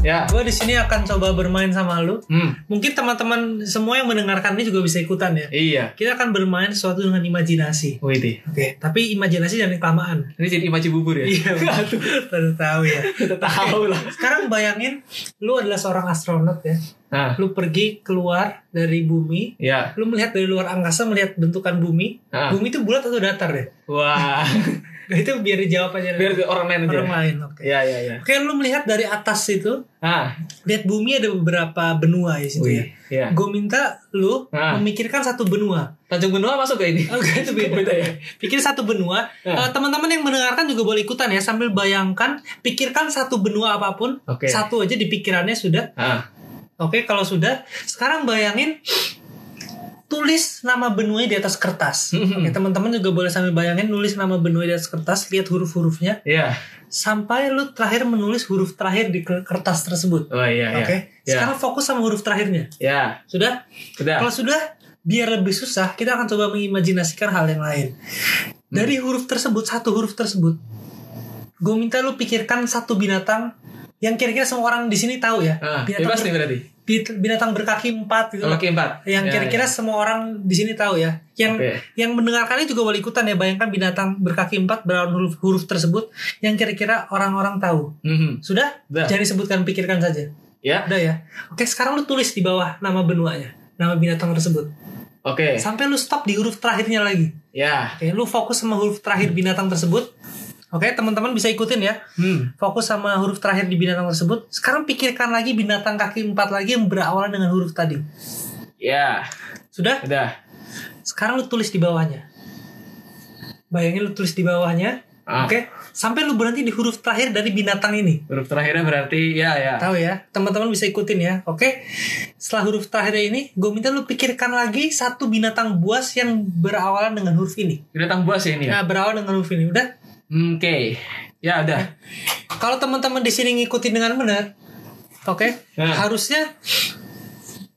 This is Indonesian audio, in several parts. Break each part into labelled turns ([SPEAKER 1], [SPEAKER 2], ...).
[SPEAKER 1] Ya.
[SPEAKER 2] Gue di sini akan coba bermain sama lu.
[SPEAKER 1] Hmm.
[SPEAKER 2] Mungkin teman-teman semua yang mendengarkan ini juga bisa ikutan ya.
[SPEAKER 1] Iya.
[SPEAKER 2] Kita akan bermain sesuatu dengan imajinasi.
[SPEAKER 1] Wih deh.
[SPEAKER 2] Oke, tapi imajinasi jangan kelamaan.
[SPEAKER 1] Ini jadi imaji bubur ya?
[SPEAKER 2] Iya, baru tahu ya.
[SPEAKER 1] Kita tahu lah.
[SPEAKER 2] Sekarang bayangin, lu adalah seorang astronot ya.
[SPEAKER 1] Nah,
[SPEAKER 2] Lu pergi keluar dari bumi,
[SPEAKER 1] ya.
[SPEAKER 2] lu melihat dari luar angkasa melihat bentukan bumi.
[SPEAKER 1] Ah.
[SPEAKER 2] Bumi itu bulat atau datar deh.
[SPEAKER 1] Wah.
[SPEAKER 2] Nah, itu biar dijawab aja
[SPEAKER 1] Biar
[SPEAKER 2] dari
[SPEAKER 1] orang lain aja.
[SPEAKER 2] orang lain. Oke.
[SPEAKER 1] Ya, ya, ya.
[SPEAKER 2] Oke, lu melihat dari atas itu,
[SPEAKER 1] Ah,
[SPEAKER 2] lihat bumi ada beberapa benua di situ ya.
[SPEAKER 1] wih. Ya.
[SPEAKER 2] Gue minta lu
[SPEAKER 1] Ah.
[SPEAKER 2] memikirkan satu benua.
[SPEAKER 1] Tanjung Benoa masuk gak ini?
[SPEAKER 2] Oke, itu beda.
[SPEAKER 1] Beda ya?
[SPEAKER 2] Pikir satu benua.
[SPEAKER 1] Ah.
[SPEAKER 2] Eh, Teman-teman yang mendengarkan juga boleh ikutan ya sambil bayangkan, pikirkan satu benua apapun.
[SPEAKER 1] Oke.
[SPEAKER 2] Satu aja di pikirannya sudah
[SPEAKER 1] Ah,
[SPEAKER 2] Oke, kalau sudah, sekarang bayangin tulis nama benuanya di atas kertas.
[SPEAKER 1] Mhm.
[SPEAKER 2] Oke, teman-teman juga boleh sambil bayangin nulis nama benua di atas kertas, lihat huruf-hurufnya
[SPEAKER 1] ya.
[SPEAKER 2] sampai lu terakhir menulis huruf terakhir di ke- kertas tersebut.
[SPEAKER 1] Oh iya,
[SPEAKER 2] Oke.
[SPEAKER 1] ya. Ya.
[SPEAKER 2] Sekarang fokus sama huruf terakhirnya.
[SPEAKER 1] Ya,
[SPEAKER 2] Sudah?
[SPEAKER 1] sudah.
[SPEAKER 2] Kalau sudah, biar lebih susah, kita akan coba mengimajinasikan hal yang lain.
[SPEAKER 1] Hmm.
[SPEAKER 2] Dari huruf tersebut, satu huruf tersebut, gue minta lu pikirkan satu binatang yang kira-kira semua orang di sini tahu ya.
[SPEAKER 1] Ah,
[SPEAKER 2] Binatang
[SPEAKER 1] bebas
[SPEAKER 2] ber-
[SPEAKER 1] nih berarti.
[SPEAKER 2] Bit- binatang berkaki empat gitu
[SPEAKER 1] Oke, empat.
[SPEAKER 2] yang
[SPEAKER 1] Ya,
[SPEAKER 2] kira-kira semua orang di sini tahu ya yang
[SPEAKER 1] Oke.
[SPEAKER 2] yang mendengarkannya juga boleh ikutan ya bayangkan binatang berkaki empat berawan huruf huruf tersebut yang kira-kira orang-orang tahu
[SPEAKER 1] ya. Mhm.
[SPEAKER 2] sudah
[SPEAKER 1] Sudah.
[SPEAKER 2] jangan disebutkan pikirkan saja
[SPEAKER 1] Ya.
[SPEAKER 2] udah ya oke sekarang lu tulis di bawah nama benuanya nama binatang tersebut
[SPEAKER 1] Oke.
[SPEAKER 2] sampai lu stop di huruf terakhirnya lagi
[SPEAKER 1] Ya.
[SPEAKER 2] oke lu fokus sama huruf terakhir binatang tersebut oke teman-teman bisa ikutin ya
[SPEAKER 1] Hmm.
[SPEAKER 2] fokus sama huruf terakhir di binatang tersebut sekarang pikirkan lagi binatang kaki empat lagi yang berawalan dengan huruf tadi
[SPEAKER 1] Ya.
[SPEAKER 2] sudah
[SPEAKER 1] Sudah.
[SPEAKER 2] Sekarang lu tulis di bawahnya. Bayangin lu tulis di bawahnya.
[SPEAKER 1] Ah.
[SPEAKER 2] Oke. Sampai lu berhenti di huruf terakhir dari binatang ini.
[SPEAKER 1] Huruf terakhirnya berarti ya, ya.
[SPEAKER 2] Tahu ya, teman-teman bisa ikutin ya. Oke. Setelah huruf terakhir ini, gue minta lu pikirkan lagi satu binatang buas yang berawalan dengan huruf ini.
[SPEAKER 1] Binatang buas ya ini ya.
[SPEAKER 2] Nah, berawalan dengan huruf ini. Udah.
[SPEAKER 1] Hmm, Oke. Ya, udah.
[SPEAKER 2] Kalau teman-teman di sini ngikutin dengan benar, oke,
[SPEAKER 1] Nah.
[SPEAKER 2] harusnya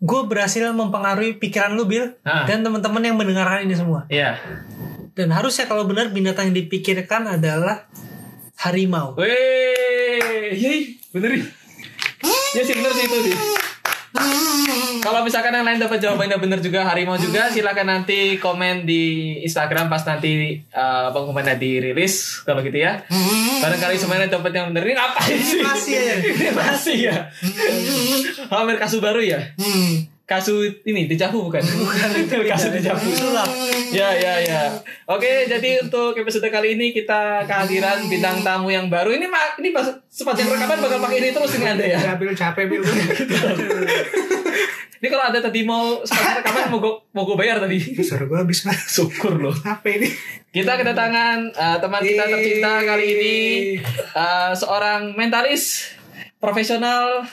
[SPEAKER 2] gue berhasil mempengaruhi pikiran lu, Bill,
[SPEAKER 1] Nah.
[SPEAKER 2] dan teman-teman yang mendengarkan ini semua.
[SPEAKER 1] Ya.
[SPEAKER 2] Dan harusnya kalau benar binatang yang dipikirkan adalah harimau.
[SPEAKER 1] Wih, yey, bener nih. Ya sih bener sih itu sih. Kalau misalkan yang lain dapat jawabannya bener juga harimau juga silakan nanti komen di Instagram pas nanti eh, pengumumannya dirilis kalau gitu ya. Barangkali semuanya dapat yang bener ini apa sih?
[SPEAKER 2] masih ya.
[SPEAKER 1] Ini masih ya. Hampir kasus baru ya. Kasus ini dijavu bukan? Bukan kasus dijavu.
[SPEAKER 2] Sulap.
[SPEAKER 1] Ya ya ya. Oke, jadi untuk episode kali ini kita kehadiran bintang tamu yang baru. Ini ma- ini pas- sepanjang rekaman bakal pakai ini terus ini ada ya.
[SPEAKER 2] Bill capek Bill.
[SPEAKER 1] Ini kalau ada tadi mau sepanjang rekaman mau gue mau gue bayar tadi.
[SPEAKER 2] Suara gue habis mas.
[SPEAKER 1] Syukur loh.
[SPEAKER 2] Apa ini?
[SPEAKER 1] Kita kedatangan eh, teman kita tercinta kali ini eh, seorang mentalis profesional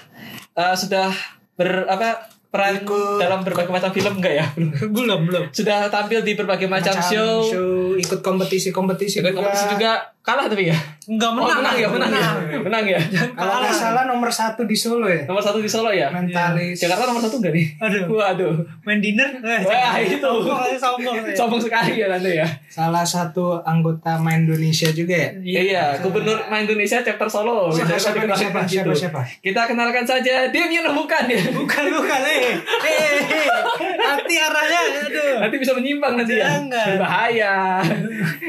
[SPEAKER 1] eh, sudah ber apa peran dalam berbagai macam film enggak ya? Belum.
[SPEAKER 2] belum belum.
[SPEAKER 1] Sudah tampil di berbagai macam, show.
[SPEAKER 2] ikut kompetisi kompetisi.
[SPEAKER 1] Ikut kompetisi juga kalah tapi ya.
[SPEAKER 2] Enggak
[SPEAKER 1] Oh,
[SPEAKER 2] menang. Nah,
[SPEAKER 1] menang ya, menang ya. Menang ya.
[SPEAKER 3] Kalau nggak salah nomor satu di Solo ya.
[SPEAKER 1] Nomor satu di Solo ya?
[SPEAKER 3] Mentalis.
[SPEAKER 1] Jakarta nomor satu enggak nih?
[SPEAKER 2] Aduh.
[SPEAKER 1] Waduh.
[SPEAKER 2] Main dinner. Eh,
[SPEAKER 1] Wah, itu.
[SPEAKER 2] Sombong, eh, sombong. eh.
[SPEAKER 1] Sombong sekali ya nanti ya.
[SPEAKER 3] Salah satu anggota main Indonesia juga ya.
[SPEAKER 1] Iya, Gubernur main Indonesia chapter Solo.
[SPEAKER 3] Siapa,
[SPEAKER 1] Jadi
[SPEAKER 3] siapa,
[SPEAKER 1] kita
[SPEAKER 3] siapa,
[SPEAKER 1] kenalkan
[SPEAKER 3] siapa,
[SPEAKER 1] gitu.
[SPEAKER 3] siapa?
[SPEAKER 1] Kita kenalkan saja Damien oh, bukan ya.
[SPEAKER 2] Bukan bukan eh. Eh, eh. Nanti arahnya aduh.
[SPEAKER 1] Nanti bisa menyimpang nanti ya.
[SPEAKER 2] Jangan.
[SPEAKER 1] Berbahaya.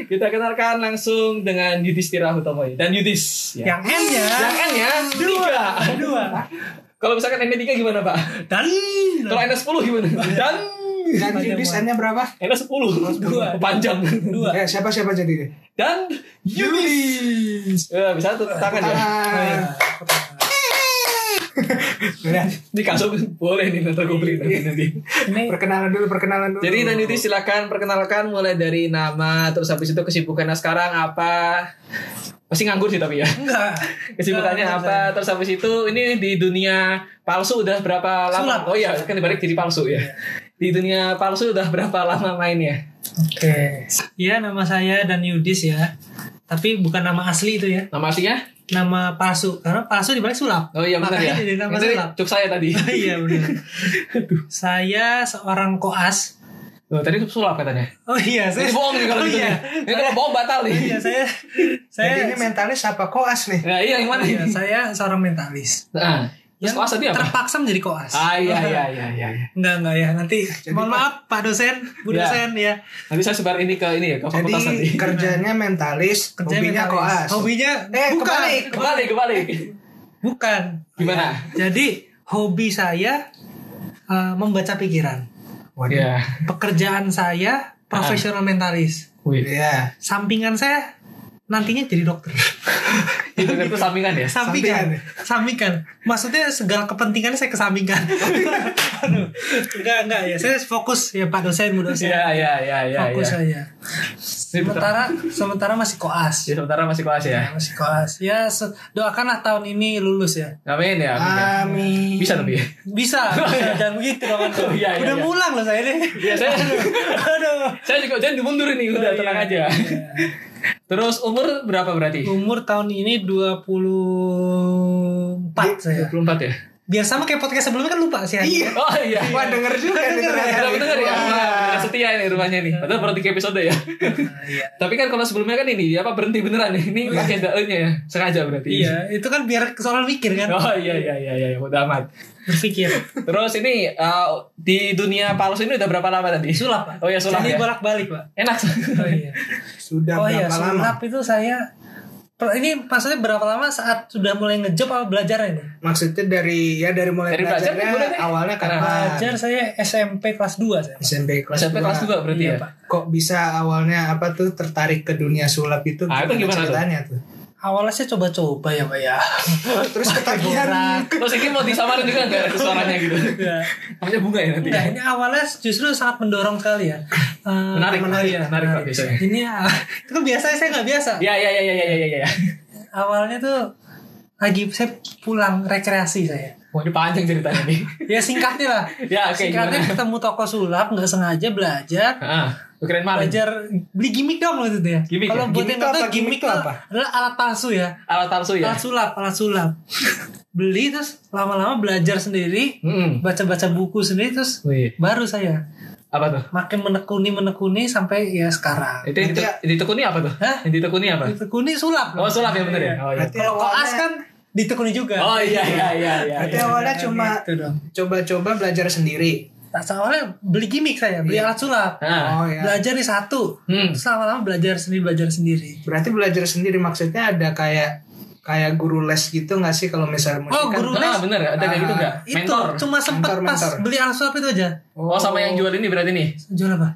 [SPEAKER 1] kita kenalkan langsung dengan Yudhistira Hutomo dan Yudhis. Ya.
[SPEAKER 2] Yang M nya
[SPEAKER 1] Jangan ya. Tiga.
[SPEAKER 2] dua.
[SPEAKER 1] Kalau misalkan N3 gimana, Pak?
[SPEAKER 2] Dan
[SPEAKER 1] Kalau N10 gimana? Dan
[SPEAKER 3] Dan Yudis N-nya berapa?
[SPEAKER 1] N10 dua panjang dua
[SPEAKER 3] Eh, siapa siapa jadi deh.
[SPEAKER 1] dan Yudis. Eh, bisa tuh tangan ya.
[SPEAKER 3] Ah. Udah,
[SPEAKER 1] Di kasur boleh nih nanti gue beli nanti. nanti.
[SPEAKER 3] perkenalan dulu, perkenalan dulu.
[SPEAKER 1] Jadi dan Yudis silakan perkenalkan mulai dari nama terus habis itu kesibukannya sekarang apa? Pasti nganggur sih tapi ya.
[SPEAKER 2] enggak.
[SPEAKER 1] Kesibukannya
[SPEAKER 2] Enggak,
[SPEAKER 1] apa? Terus habis itu ini di dunia palsu udah berapa lama?
[SPEAKER 2] Sulap.
[SPEAKER 1] Oh iya, kan dibalik jadi palsu ya. Di dunia palsu udah berapa lama mainnya?
[SPEAKER 2] Oke. Ya nama saya dan Yudis ya. Tapi bukan nama asli itu ya.
[SPEAKER 1] Nama aslinya?
[SPEAKER 2] Nama palsu. Karena palsu dibalik sulap.
[SPEAKER 1] Oh iya benar ya.
[SPEAKER 2] Makanya jadi nama
[SPEAKER 1] Ini
[SPEAKER 2] sulap. Oh,
[SPEAKER 1] cuk saya tadi.
[SPEAKER 2] iya benar. Saya seorang koas
[SPEAKER 1] Loh, tadi sulap katanya.
[SPEAKER 2] Oh iya, saya
[SPEAKER 1] Ini bohong nih
[SPEAKER 2] oh,
[SPEAKER 1] kalau gitu.
[SPEAKER 2] iya.
[SPEAKER 1] nih. Ini kalau bohong batal
[SPEAKER 2] Oh, iya,
[SPEAKER 1] nih.
[SPEAKER 2] saya
[SPEAKER 3] Jadi
[SPEAKER 2] saya
[SPEAKER 3] ini mentalis apa koas nih?
[SPEAKER 1] Nah, iya yang mana?
[SPEAKER 2] iya, saya seorang mentalis.
[SPEAKER 1] Nah, terus
[SPEAKER 2] Yang
[SPEAKER 1] koas tadi apa?
[SPEAKER 2] Terpaksa menjadi koas. Oh,
[SPEAKER 1] Ah iya iya iya iya.
[SPEAKER 2] Enggak enggak ya, nanti mohon maaf Pak dosen, Bu
[SPEAKER 1] Iya.
[SPEAKER 2] dosen ya.
[SPEAKER 1] Nanti saya sebar ini ke ini ya, ke
[SPEAKER 3] Jadi
[SPEAKER 1] fakultas nanti.
[SPEAKER 3] kerjanya mentalis,
[SPEAKER 2] Kerjanya
[SPEAKER 3] hobinya
[SPEAKER 2] mentalis.
[SPEAKER 3] koas.
[SPEAKER 2] Hobinya
[SPEAKER 3] Eh,
[SPEAKER 2] bukan.
[SPEAKER 3] kebalik.
[SPEAKER 1] Kembali kembali.
[SPEAKER 2] Bukan.
[SPEAKER 1] Gimana?
[SPEAKER 2] Jadi hobi saya eh, membaca pikiran.
[SPEAKER 3] Waduh.
[SPEAKER 1] Iya.
[SPEAKER 2] Pekerjaan saya profesional mentalis.
[SPEAKER 1] Wih.
[SPEAKER 3] Iya.
[SPEAKER 2] Sampingan saya nantinya jadi dokter.
[SPEAKER 1] Itu itu sampingan ya.
[SPEAKER 2] sampingan sampingan maksudnya segala kepentingannya saya kesampingkan aduh enggak enggak ya saya fokus ya pak dosen bu dosen
[SPEAKER 1] Iya iya iya iya.
[SPEAKER 2] fokus
[SPEAKER 1] iya.
[SPEAKER 2] aja
[SPEAKER 1] Ini bentar.
[SPEAKER 2] sementara sementara masih koas
[SPEAKER 1] Ya, sementara masih kelas ya.
[SPEAKER 2] masih koas ya se- doakanlah tahun ini lulus ya
[SPEAKER 1] Amin ya. amin ya.
[SPEAKER 3] Amin.
[SPEAKER 1] Bisa tapi. ya?
[SPEAKER 2] bisa, bisa. jangan begitu dong Anda.
[SPEAKER 1] Oh, iya, iya,
[SPEAKER 2] udah
[SPEAKER 1] iya.
[SPEAKER 2] mulang loh saya nih
[SPEAKER 1] Ya saya
[SPEAKER 2] aduh
[SPEAKER 1] saya juga jangan dimundurin nih udah
[SPEAKER 2] Iya, Oh,
[SPEAKER 1] tenang
[SPEAKER 2] iya.
[SPEAKER 1] aja. Terus umur berapa berarti?
[SPEAKER 2] umur tahun ini 24 saya
[SPEAKER 1] 24 ya?
[SPEAKER 2] biar sama kayak podcast sebelumnya kan lupa sih
[SPEAKER 3] Iya.
[SPEAKER 1] Oh iya.
[SPEAKER 3] Wah denger juga nih ternyata.
[SPEAKER 1] Udah bener ya?
[SPEAKER 3] Wah.
[SPEAKER 1] Wah, bener setia nih rumahnya nih. Padahal baru 3 episode ya.
[SPEAKER 2] Nah, iya
[SPEAKER 1] Tapi kan kalau sebelumnya kan ini apa berhenti beneran nih. Ini pakai daunnya ya. Sengaja berarti.
[SPEAKER 2] Iya, itu kan biar seorang mikir kan,
[SPEAKER 1] Oh iya iya iya iya udah amat.
[SPEAKER 2] berpikir.
[SPEAKER 1] Terus ini eh, di dunia palsu ini udah berapa lama tadi?
[SPEAKER 2] Sulap, Pak.
[SPEAKER 1] Oh iya sulap
[SPEAKER 2] Jadi
[SPEAKER 1] ya.
[SPEAKER 2] bolak-balik, Pak.
[SPEAKER 1] Enak.
[SPEAKER 2] Oh iya.
[SPEAKER 3] Sudah
[SPEAKER 2] oh iya,
[SPEAKER 3] berapa lama?
[SPEAKER 2] sulap itu saya per- ini maksudnya berapa lama saat sudah mulai ngejob apa belajar ini?
[SPEAKER 3] Maksudnya dari ya dari mulai
[SPEAKER 1] Dari belajar
[SPEAKER 3] belajarnya
[SPEAKER 1] nih, boleh deh.
[SPEAKER 3] awalnya kapan?
[SPEAKER 2] Belajar saya SMP kelas 2 saya. Pak.
[SPEAKER 3] SMP kelas
[SPEAKER 1] SMP kelas 2
[SPEAKER 3] 2.
[SPEAKER 1] berarti
[SPEAKER 2] Iya,
[SPEAKER 1] ya.
[SPEAKER 2] Pak.
[SPEAKER 3] Kok bisa awalnya apa tuh tertarik ke dunia sulap itu?
[SPEAKER 1] Ah, itu gimana tuh?
[SPEAKER 3] ceritanya tuh?
[SPEAKER 2] Awalnya saya coba-coba ya, Pak ya.
[SPEAKER 3] Terus ketagihan.
[SPEAKER 2] Borak.
[SPEAKER 1] Terus ini mau disamarin juga nggak ada suaranya gitu.
[SPEAKER 2] Ya.
[SPEAKER 1] Namanya bunga ya nanti.
[SPEAKER 2] Enggak, Iya, ini awalnya justru sangat mendorong sekali ya. Eh,
[SPEAKER 1] Menarik, menarik,
[SPEAKER 2] iya,
[SPEAKER 1] menarik, Pak, biasanya.
[SPEAKER 2] Ini ah, itu kan biasanya saya nggak biasa.
[SPEAKER 1] Ya ya ya ya ya ya ya. ya.
[SPEAKER 2] Awalnya tuh lagi saya pulang rekreasi saya.
[SPEAKER 1] Wah ini panjang ceritanya nih.
[SPEAKER 2] ya singkatnya lah
[SPEAKER 1] Ya, oke,
[SPEAKER 2] singkatnya
[SPEAKER 1] gimana?
[SPEAKER 2] ketemu toko sulap nggak sengaja belajar
[SPEAKER 1] Heeh. Lu keren maling.
[SPEAKER 2] belajar beli gimmick dong maksudnya
[SPEAKER 1] Gimmick
[SPEAKER 2] kalau
[SPEAKER 1] ya?
[SPEAKER 2] buat
[SPEAKER 3] Gimmick
[SPEAKER 2] yang
[SPEAKER 3] tuh
[SPEAKER 2] nggak tahu
[SPEAKER 3] apa?
[SPEAKER 2] gimmick
[SPEAKER 3] Gimmick
[SPEAKER 2] itu
[SPEAKER 3] tuh apa?
[SPEAKER 2] adalah alat palsu ya
[SPEAKER 1] Alat palsu ya.
[SPEAKER 2] alat sulap alat sulap beli terus lama-lama belajar sendiri
[SPEAKER 1] Mm-mm.
[SPEAKER 2] baca-baca buku sendiri terus
[SPEAKER 1] Wih,
[SPEAKER 2] baru saya
[SPEAKER 1] apa tuh?
[SPEAKER 2] makin menekuni menekuni sampai ya sekarang
[SPEAKER 1] Itu yang
[SPEAKER 3] Berarti
[SPEAKER 1] ditek- ditekuni apa tuh?
[SPEAKER 2] Hah?
[SPEAKER 1] Yang ditekuni apa?
[SPEAKER 2] ditekuni sulap
[SPEAKER 1] Oh sulap ya bener ya. Oh iya.
[SPEAKER 3] Berarti
[SPEAKER 2] kalau koas
[SPEAKER 3] awalnya-
[SPEAKER 2] kan ditekuni juga
[SPEAKER 1] Oh iya iya iya iya.
[SPEAKER 3] Berarti
[SPEAKER 1] iya.
[SPEAKER 3] awalnya
[SPEAKER 2] Nah,
[SPEAKER 3] cuma
[SPEAKER 2] gitu dong
[SPEAKER 3] coba-coba belajar sendiri.
[SPEAKER 2] Nah, awalnya beli gimmick saya beli alat sulap
[SPEAKER 1] Nah.
[SPEAKER 3] Oh ya.
[SPEAKER 2] belajar nih satu
[SPEAKER 1] Hmm.
[SPEAKER 2] Terus lama-lama belajar sendiri belajar sendiri.
[SPEAKER 3] Berarti belajar sendiri maksudnya ada kayak kayak guru les gitu nggak sih kalau misalnya musik
[SPEAKER 2] Oh,
[SPEAKER 3] kan-
[SPEAKER 2] guru- Ah,
[SPEAKER 1] Nah, bener ada kayak gitu nggak?
[SPEAKER 2] Itu
[SPEAKER 1] Mentor.
[SPEAKER 2] cuma sempat
[SPEAKER 3] Mentor,
[SPEAKER 2] pas
[SPEAKER 3] mentor.
[SPEAKER 2] beli alat sulap itu aja.
[SPEAKER 1] Oh sama yang jual ini berarti nih.
[SPEAKER 2] Jual apa?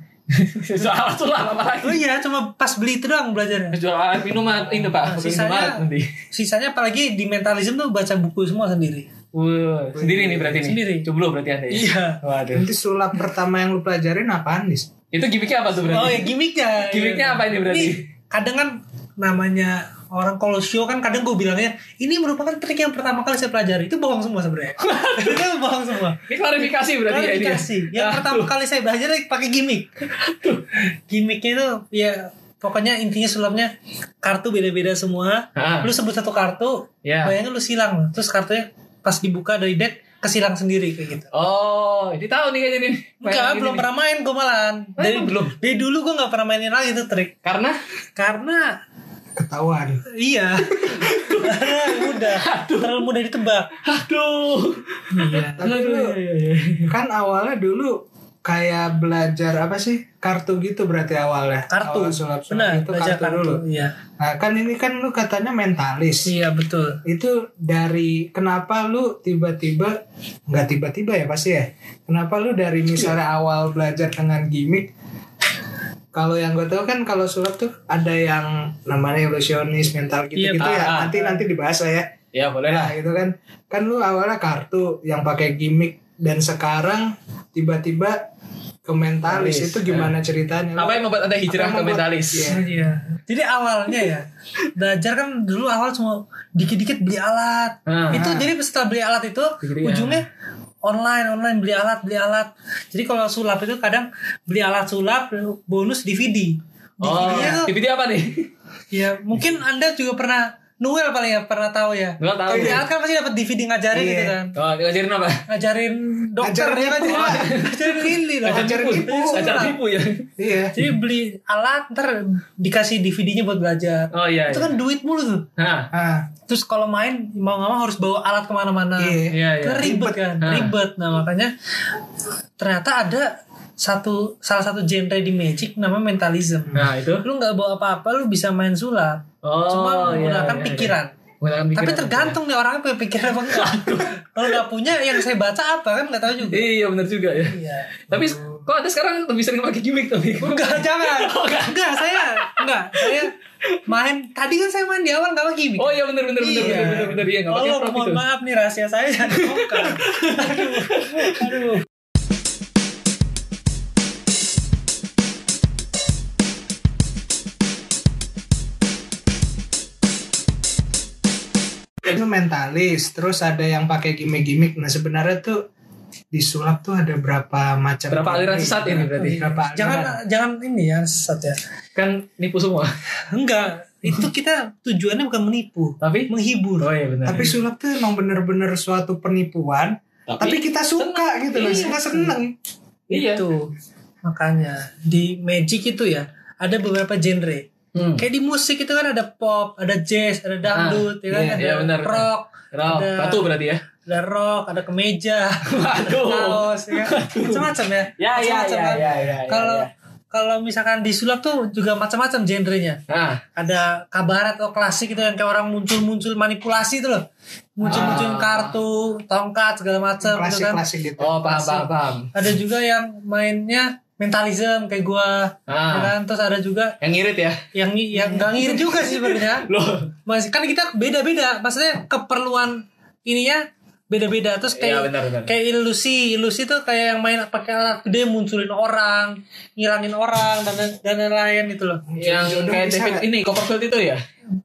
[SPEAKER 1] Jual alat sulap apa lagi?
[SPEAKER 2] Oh iya, cuma pas beli itu doang belajarnya.
[SPEAKER 1] Jual alat minuman ini pak.
[SPEAKER 2] Nah,
[SPEAKER 1] Minuman
[SPEAKER 2] sisanya-
[SPEAKER 1] nanti.
[SPEAKER 2] Sisanya apalagi di mentalisme tuh baca buku semua sendiri.
[SPEAKER 1] Wah, sendiri nih berarti nih.
[SPEAKER 2] Sendiri.
[SPEAKER 1] Cublo berarti anda ya.
[SPEAKER 2] Iya.
[SPEAKER 1] Waduh.
[SPEAKER 3] Nanti sulap pertama yang lu pelajarin apaan, Dis?
[SPEAKER 1] Itu gimmicknya apa tuh berarti?
[SPEAKER 2] Oh ya gimmicknya.
[SPEAKER 1] Gimmicknya apa ini berarti?
[SPEAKER 2] Nih, kadang kan namanya orang kalau show kan kadang gue bilangnya ini merupakan trik yang pertama kali saya pelajari itu bohong semua sebenarnya itu bohong semua
[SPEAKER 1] Ini klarifikasi berarti ya ini. ya?
[SPEAKER 2] klarifikasi. Yang
[SPEAKER 1] Ah,
[SPEAKER 2] pertama kali saya belajar pakai gimmick. Gimmicknya itu ya pokoknya intinya sulapnya kartu beda-beda semua.
[SPEAKER 1] Ah.
[SPEAKER 2] Lu sebut satu kartu,
[SPEAKER 1] Ya.
[SPEAKER 2] bayangin lu silang. Terus kartunya pas dibuka dari deck kesilang sendiri kayak gitu.
[SPEAKER 1] Oh, ini tahu nih kayaknya nih. Mainan
[SPEAKER 2] Enggak,
[SPEAKER 1] gini
[SPEAKER 2] belum
[SPEAKER 1] nih.
[SPEAKER 2] pernah main gue malahan.
[SPEAKER 1] Oh,
[SPEAKER 2] Dari,
[SPEAKER 1] emang belum?
[SPEAKER 2] dari dulu gue nggak pernah mainin lagi itu trik.
[SPEAKER 1] Karena
[SPEAKER 2] Karena
[SPEAKER 3] Ketahuan.
[SPEAKER 2] iya, Karena mudah, terlalu mudah ditebak.
[SPEAKER 1] aduh.
[SPEAKER 2] Iya.
[SPEAKER 3] Tapi
[SPEAKER 1] Aduh,
[SPEAKER 3] lu-
[SPEAKER 1] iya, iya, iya.
[SPEAKER 3] kan awalnya dulu kayak belajar apa sih? Kartu gitu berarti awalnya.
[SPEAKER 2] Kartu,
[SPEAKER 3] Awal sulap sulap
[SPEAKER 2] benar.
[SPEAKER 3] itu
[SPEAKER 2] belajar
[SPEAKER 3] kartu, dulu.
[SPEAKER 2] Iya,
[SPEAKER 3] Nah, kan ini kan lu katanya mentalis.
[SPEAKER 2] iya betul.
[SPEAKER 3] Itu dari kenapa lu tiba-tiba nggak tiba-tiba ya pasti ya. Kenapa lu dari misalnya awal belajar dengan gimmick kalau yang gue tahu kan kalau sulap tuh ada yang namanya ilusionis mental gitu-gitu
[SPEAKER 1] Iya,
[SPEAKER 3] ya.
[SPEAKER 1] Pak.
[SPEAKER 3] Nanti nanti dibahas lah ya.
[SPEAKER 1] Ya boleh lah.
[SPEAKER 3] Nah gitu kan Kan lu awalnya kartu yang pakai gimmick Dan sekarang tiba-tiba ke
[SPEAKER 1] Mentalis,
[SPEAKER 3] mentalis
[SPEAKER 1] ya.
[SPEAKER 3] Itu gimana ceritanya Lu-
[SPEAKER 1] Apa yang membuat anda hijrah ke
[SPEAKER 3] Apa yang membuat-
[SPEAKER 1] mentalis?
[SPEAKER 3] Iya.
[SPEAKER 2] Iya. Jadi awalnya ya belajar kan dulu awal cuma dikit-dikit beli alat.
[SPEAKER 1] Ah.
[SPEAKER 2] itu jadi setelah beli alat itu
[SPEAKER 3] ya.
[SPEAKER 1] Dikit-dikit,
[SPEAKER 2] ujungnya online online beli alat beli alat. Jadi kalau sulap itu kadang beli alat sulap bonus DVD.
[SPEAKER 1] Oh,
[SPEAKER 2] DVD-nya tuh
[SPEAKER 3] Oh.
[SPEAKER 1] DVD apa nih?
[SPEAKER 2] ya mungkin Anda juga pernah Noel paling ya pernah tahu ya.
[SPEAKER 1] Noel tahu.
[SPEAKER 2] Kalau di Alat kan pasti dapat DVD ngajarin
[SPEAKER 3] Iya.
[SPEAKER 2] gitu kan.
[SPEAKER 1] Oh, ngajarin apa?
[SPEAKER 2] Ngajarin dokter
[SPEAKER 3] Ngajarin
[SPEAKER 2] dia
[SPEAKER 3] nipu,
[SPEAKER 2] ngajarin,
[SPEAKER 3] Pak.
[SPEAKER 2] ngajarin ini loh.
[SPEAKER 3] Ngajarin nipu.
[SPEAKER 1] Ajar nipu ya.
[SPEAKER 3] Iya.
[SPEAKER 2] Jadi beli alat ntar dikasih DVD-nya buat belajar.
[SPEAKER 1] Oh iya.
[SPEAKER 2] Itu
[SPEAKER 1] iya.
[SPEAKER 2] kan duit mulu tuh.
[SPEAKER 1] Nah,
[SPEAKER 3] Ah,
[SPEAKER 2] Terus kalau main mau nggak mau harus bawa alat kemana-mana.
[SPEAKER 3] iya.
[SPEAKER 1] iya iya.
[SPEAKER 2] Kan ribet kan,
[SPEAKER 1] Ah.
[SPEAKER 2] ribet. Nah makanya ternyata ada satu salah satu genre di Magic namanya mentalism.
[SPEAKER 1] Nah, itu.
[SPEAKER 2] Lu nggak bawa apa-apa, lu bisa main sulap.
[SPEAKER 1] Oh,
[SPEAKER 2] Cuma
[SPEAKER 1] iya,
[SPEAKER 2] menggunakan
[SPEAKER 1] iya, iya.
[SPEAKER 2] pikiran.
[SPEAKER 1] Menggunakan pikiran.
[SPEAKER 2] Tapi tergantung nih orangnya punya pikiran apa enggak. Kalau nggak punya, yang saya baca apa kan nggak tahu juga.
[SPEAKER 1] Iya, benar juga ya.
[SPEAKER 2] Iya.
[SPEAKER 1] Tapi kok ada sekarang lebih sering pakai gimmick tapi.
[SPEAKER 2] Enggak, jangan.
[SPEAKER 1] Oh,
[SPEAKER 2] Enggak, saya enggak. Saya main tadi kan saya main di awal enggak pakai gimmick.
[SPEAKER 1] Oh iya benar benar benar benar benar benar iya enggak pakai
[SPEAKER 2] Tolong,
[SPEAKER 1] prop
[SPEAKER 2] mohon
[SPEAKER 1] itu.
[SPEAKER 2] maaf nih rahasia saya jangan dibongkar. Aduh. Aduh.
[SPEAKER 3] itu mentalis. Terus ada yang pakai gimmick-gimmick. Nah sebenarnya tuh di sulap tuh ada berapa macam
[SPEAKER 1] Berapa aliran
[SPEAKER 3] gimmick. gitu.
[SPEAKER 1] sesat ini berarti?
[SPEAKER 2] Iya.
[SPEAKER 3] Berapa aliran?
[SPEAKER 2] Jangan jangan ini ya sesat ya.
[SPEAKER 1] Kan nipu semua.
[SPEAKER 2] Enggak, itu kita tujuannya bukan menipu,
[SPEAKER 1] Tapi
[SPEAKER 2] menghibur.
[SPEAKER 1] Oh iya benar.
[SPEAKER 3] tapi sulap tuh emang bener-bener suatu penipuan tapi, kita suka gitu loh
[SPEAKER 1] Iya.
[SPEAKER 3] suka seneng
[SPEAKER 1] Iya.
[SPEAKER 2] Itu makanya di Magic itu ya ada beberapa genre.
[SPEAKER 1] Hmm.
[SPEAKER 2] Kayak di musik itu kan ada pop, ada jazz, ada dangdut, ya kan?
[SPEAKER 1] iya,
[SPEAKER 2] ada
[SPEAKER 1] iya, benar.
[SPEAKER 2] rock,
[SPEAKER 1] Rock,
[SPEAKER 2] Ada-
[SPEAKER 1] batu berarti ya.
[SPEAKER 2] ada rock, ada kemeja,
[SPEAKER 1] Waduh.
[SPEAKER 2] kaos, ya kan? macam-macam ya.
[SPEAKER 1] Ya ya
[SPEAKER 2] Macam-macam
[SPEAKER 1] ya
[SPEAKER 2] kan.
[SPEAKER 1] ya ya.
[SPEAKER 2] Kalau
[SPEAKER 1] ya.
[SPEAKER 2] kalau misalkan di sulap tuh juga macam-macam genrenya.
[SPEAKER 1] ah,
[SPEAKER 2] Ada kabaret atau klasik itu yang kayak orang muncul-muncul manipulasi itu loh. Muncul-munculin
[SPEAKER 1] Ah.
[SPEAKER 2] kartu, tongkat segala macam gitu
[SPEAKER 3] klasik
[SPEAKER 2] kan.
[SPEAKER 3] klasik gitu
[SPEAKER 1] oh paham paham paham.
[SPEAKER 2] Ada juga yang mainnya mentalism kayak gua. ya
[SPEAKER 1] Ah,
[SPEAKER 2] kan? Terus ada juga
[SPEAKER 1] yang ngirit ya.
[SPEAKER 2] yang yang gak ngirit juga sih sebenarnya.
[SPEAKER 1] Loh.
[SPEAKER 2] Mas, kan kita beda-beda, maksudnya keperluan ininya beda-beda. Terus
[SPEAKER 1] Iya
[SPEAKER 2] kayak
[SPEAKER 1] benar benar.
[SPEAKER 2] kayak ilusi, ilusi tuh kayak yang main pakai alat gede munculin orang, ngilangin orang dan dan lain-lain gitu loh.
[SPEAKER 1] yang
[SPEAKER 3] Jodoh
[SPEAKER 1] kayak
[SPEAKER 3] bisa
[SPEAKER 1] David
[SPEAKER 3] nggak?
[SPEAKER 1] ini Copperfield itu ya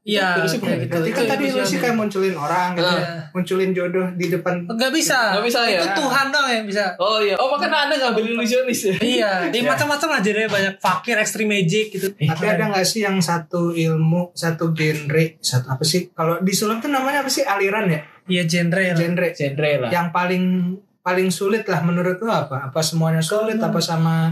[SPEAKER 2] Iya,
[SPEAKER 1] Ilusi
[SPEAKER 2] kayak
[SPEAKER 1] bukan?
[SPEAKER 2] gitu.
[SPEAKER 3] berarti kan
[SPEAKER 2] Itu
[SPEAKER 3] tadi lu sih
[SPEAKER 2] ilusi.
[SPEAKER 3] kayak munculin orang gitu
[SPEAKER 2] Iya.
[SPEAKER 1] Ah.
[SPEAKER 3] munculin jodoh di depan
[SPEAKER 2] Nggak bisa.
[SPEAKER 1] Nggak bisa, ya?
[SPEAKER 2] Itu Tuhan dong yang bisa.
[SPEAKER 1] oh iya oh makanya anda ngambil ilusionis ya
[SPEAKER 2] iya, di macam-macam lah jadi banyak fakir, extreme magic gitu.
[SPEAKER 1] Iya.
[SPEAKER 3] tapi ada nggak sih yang satu ilmu satu genre satu apa sih kalau di sulap tuh namanya apa sih aliran ya
[SPEAKER 2] Iya genre lah.
[SPEAKER 3] genre
[SPEAKER 1] genre lah
[SPEAKER 3] yang paling paling sulit lah menurut lu apa apa semuanya sulit apa sama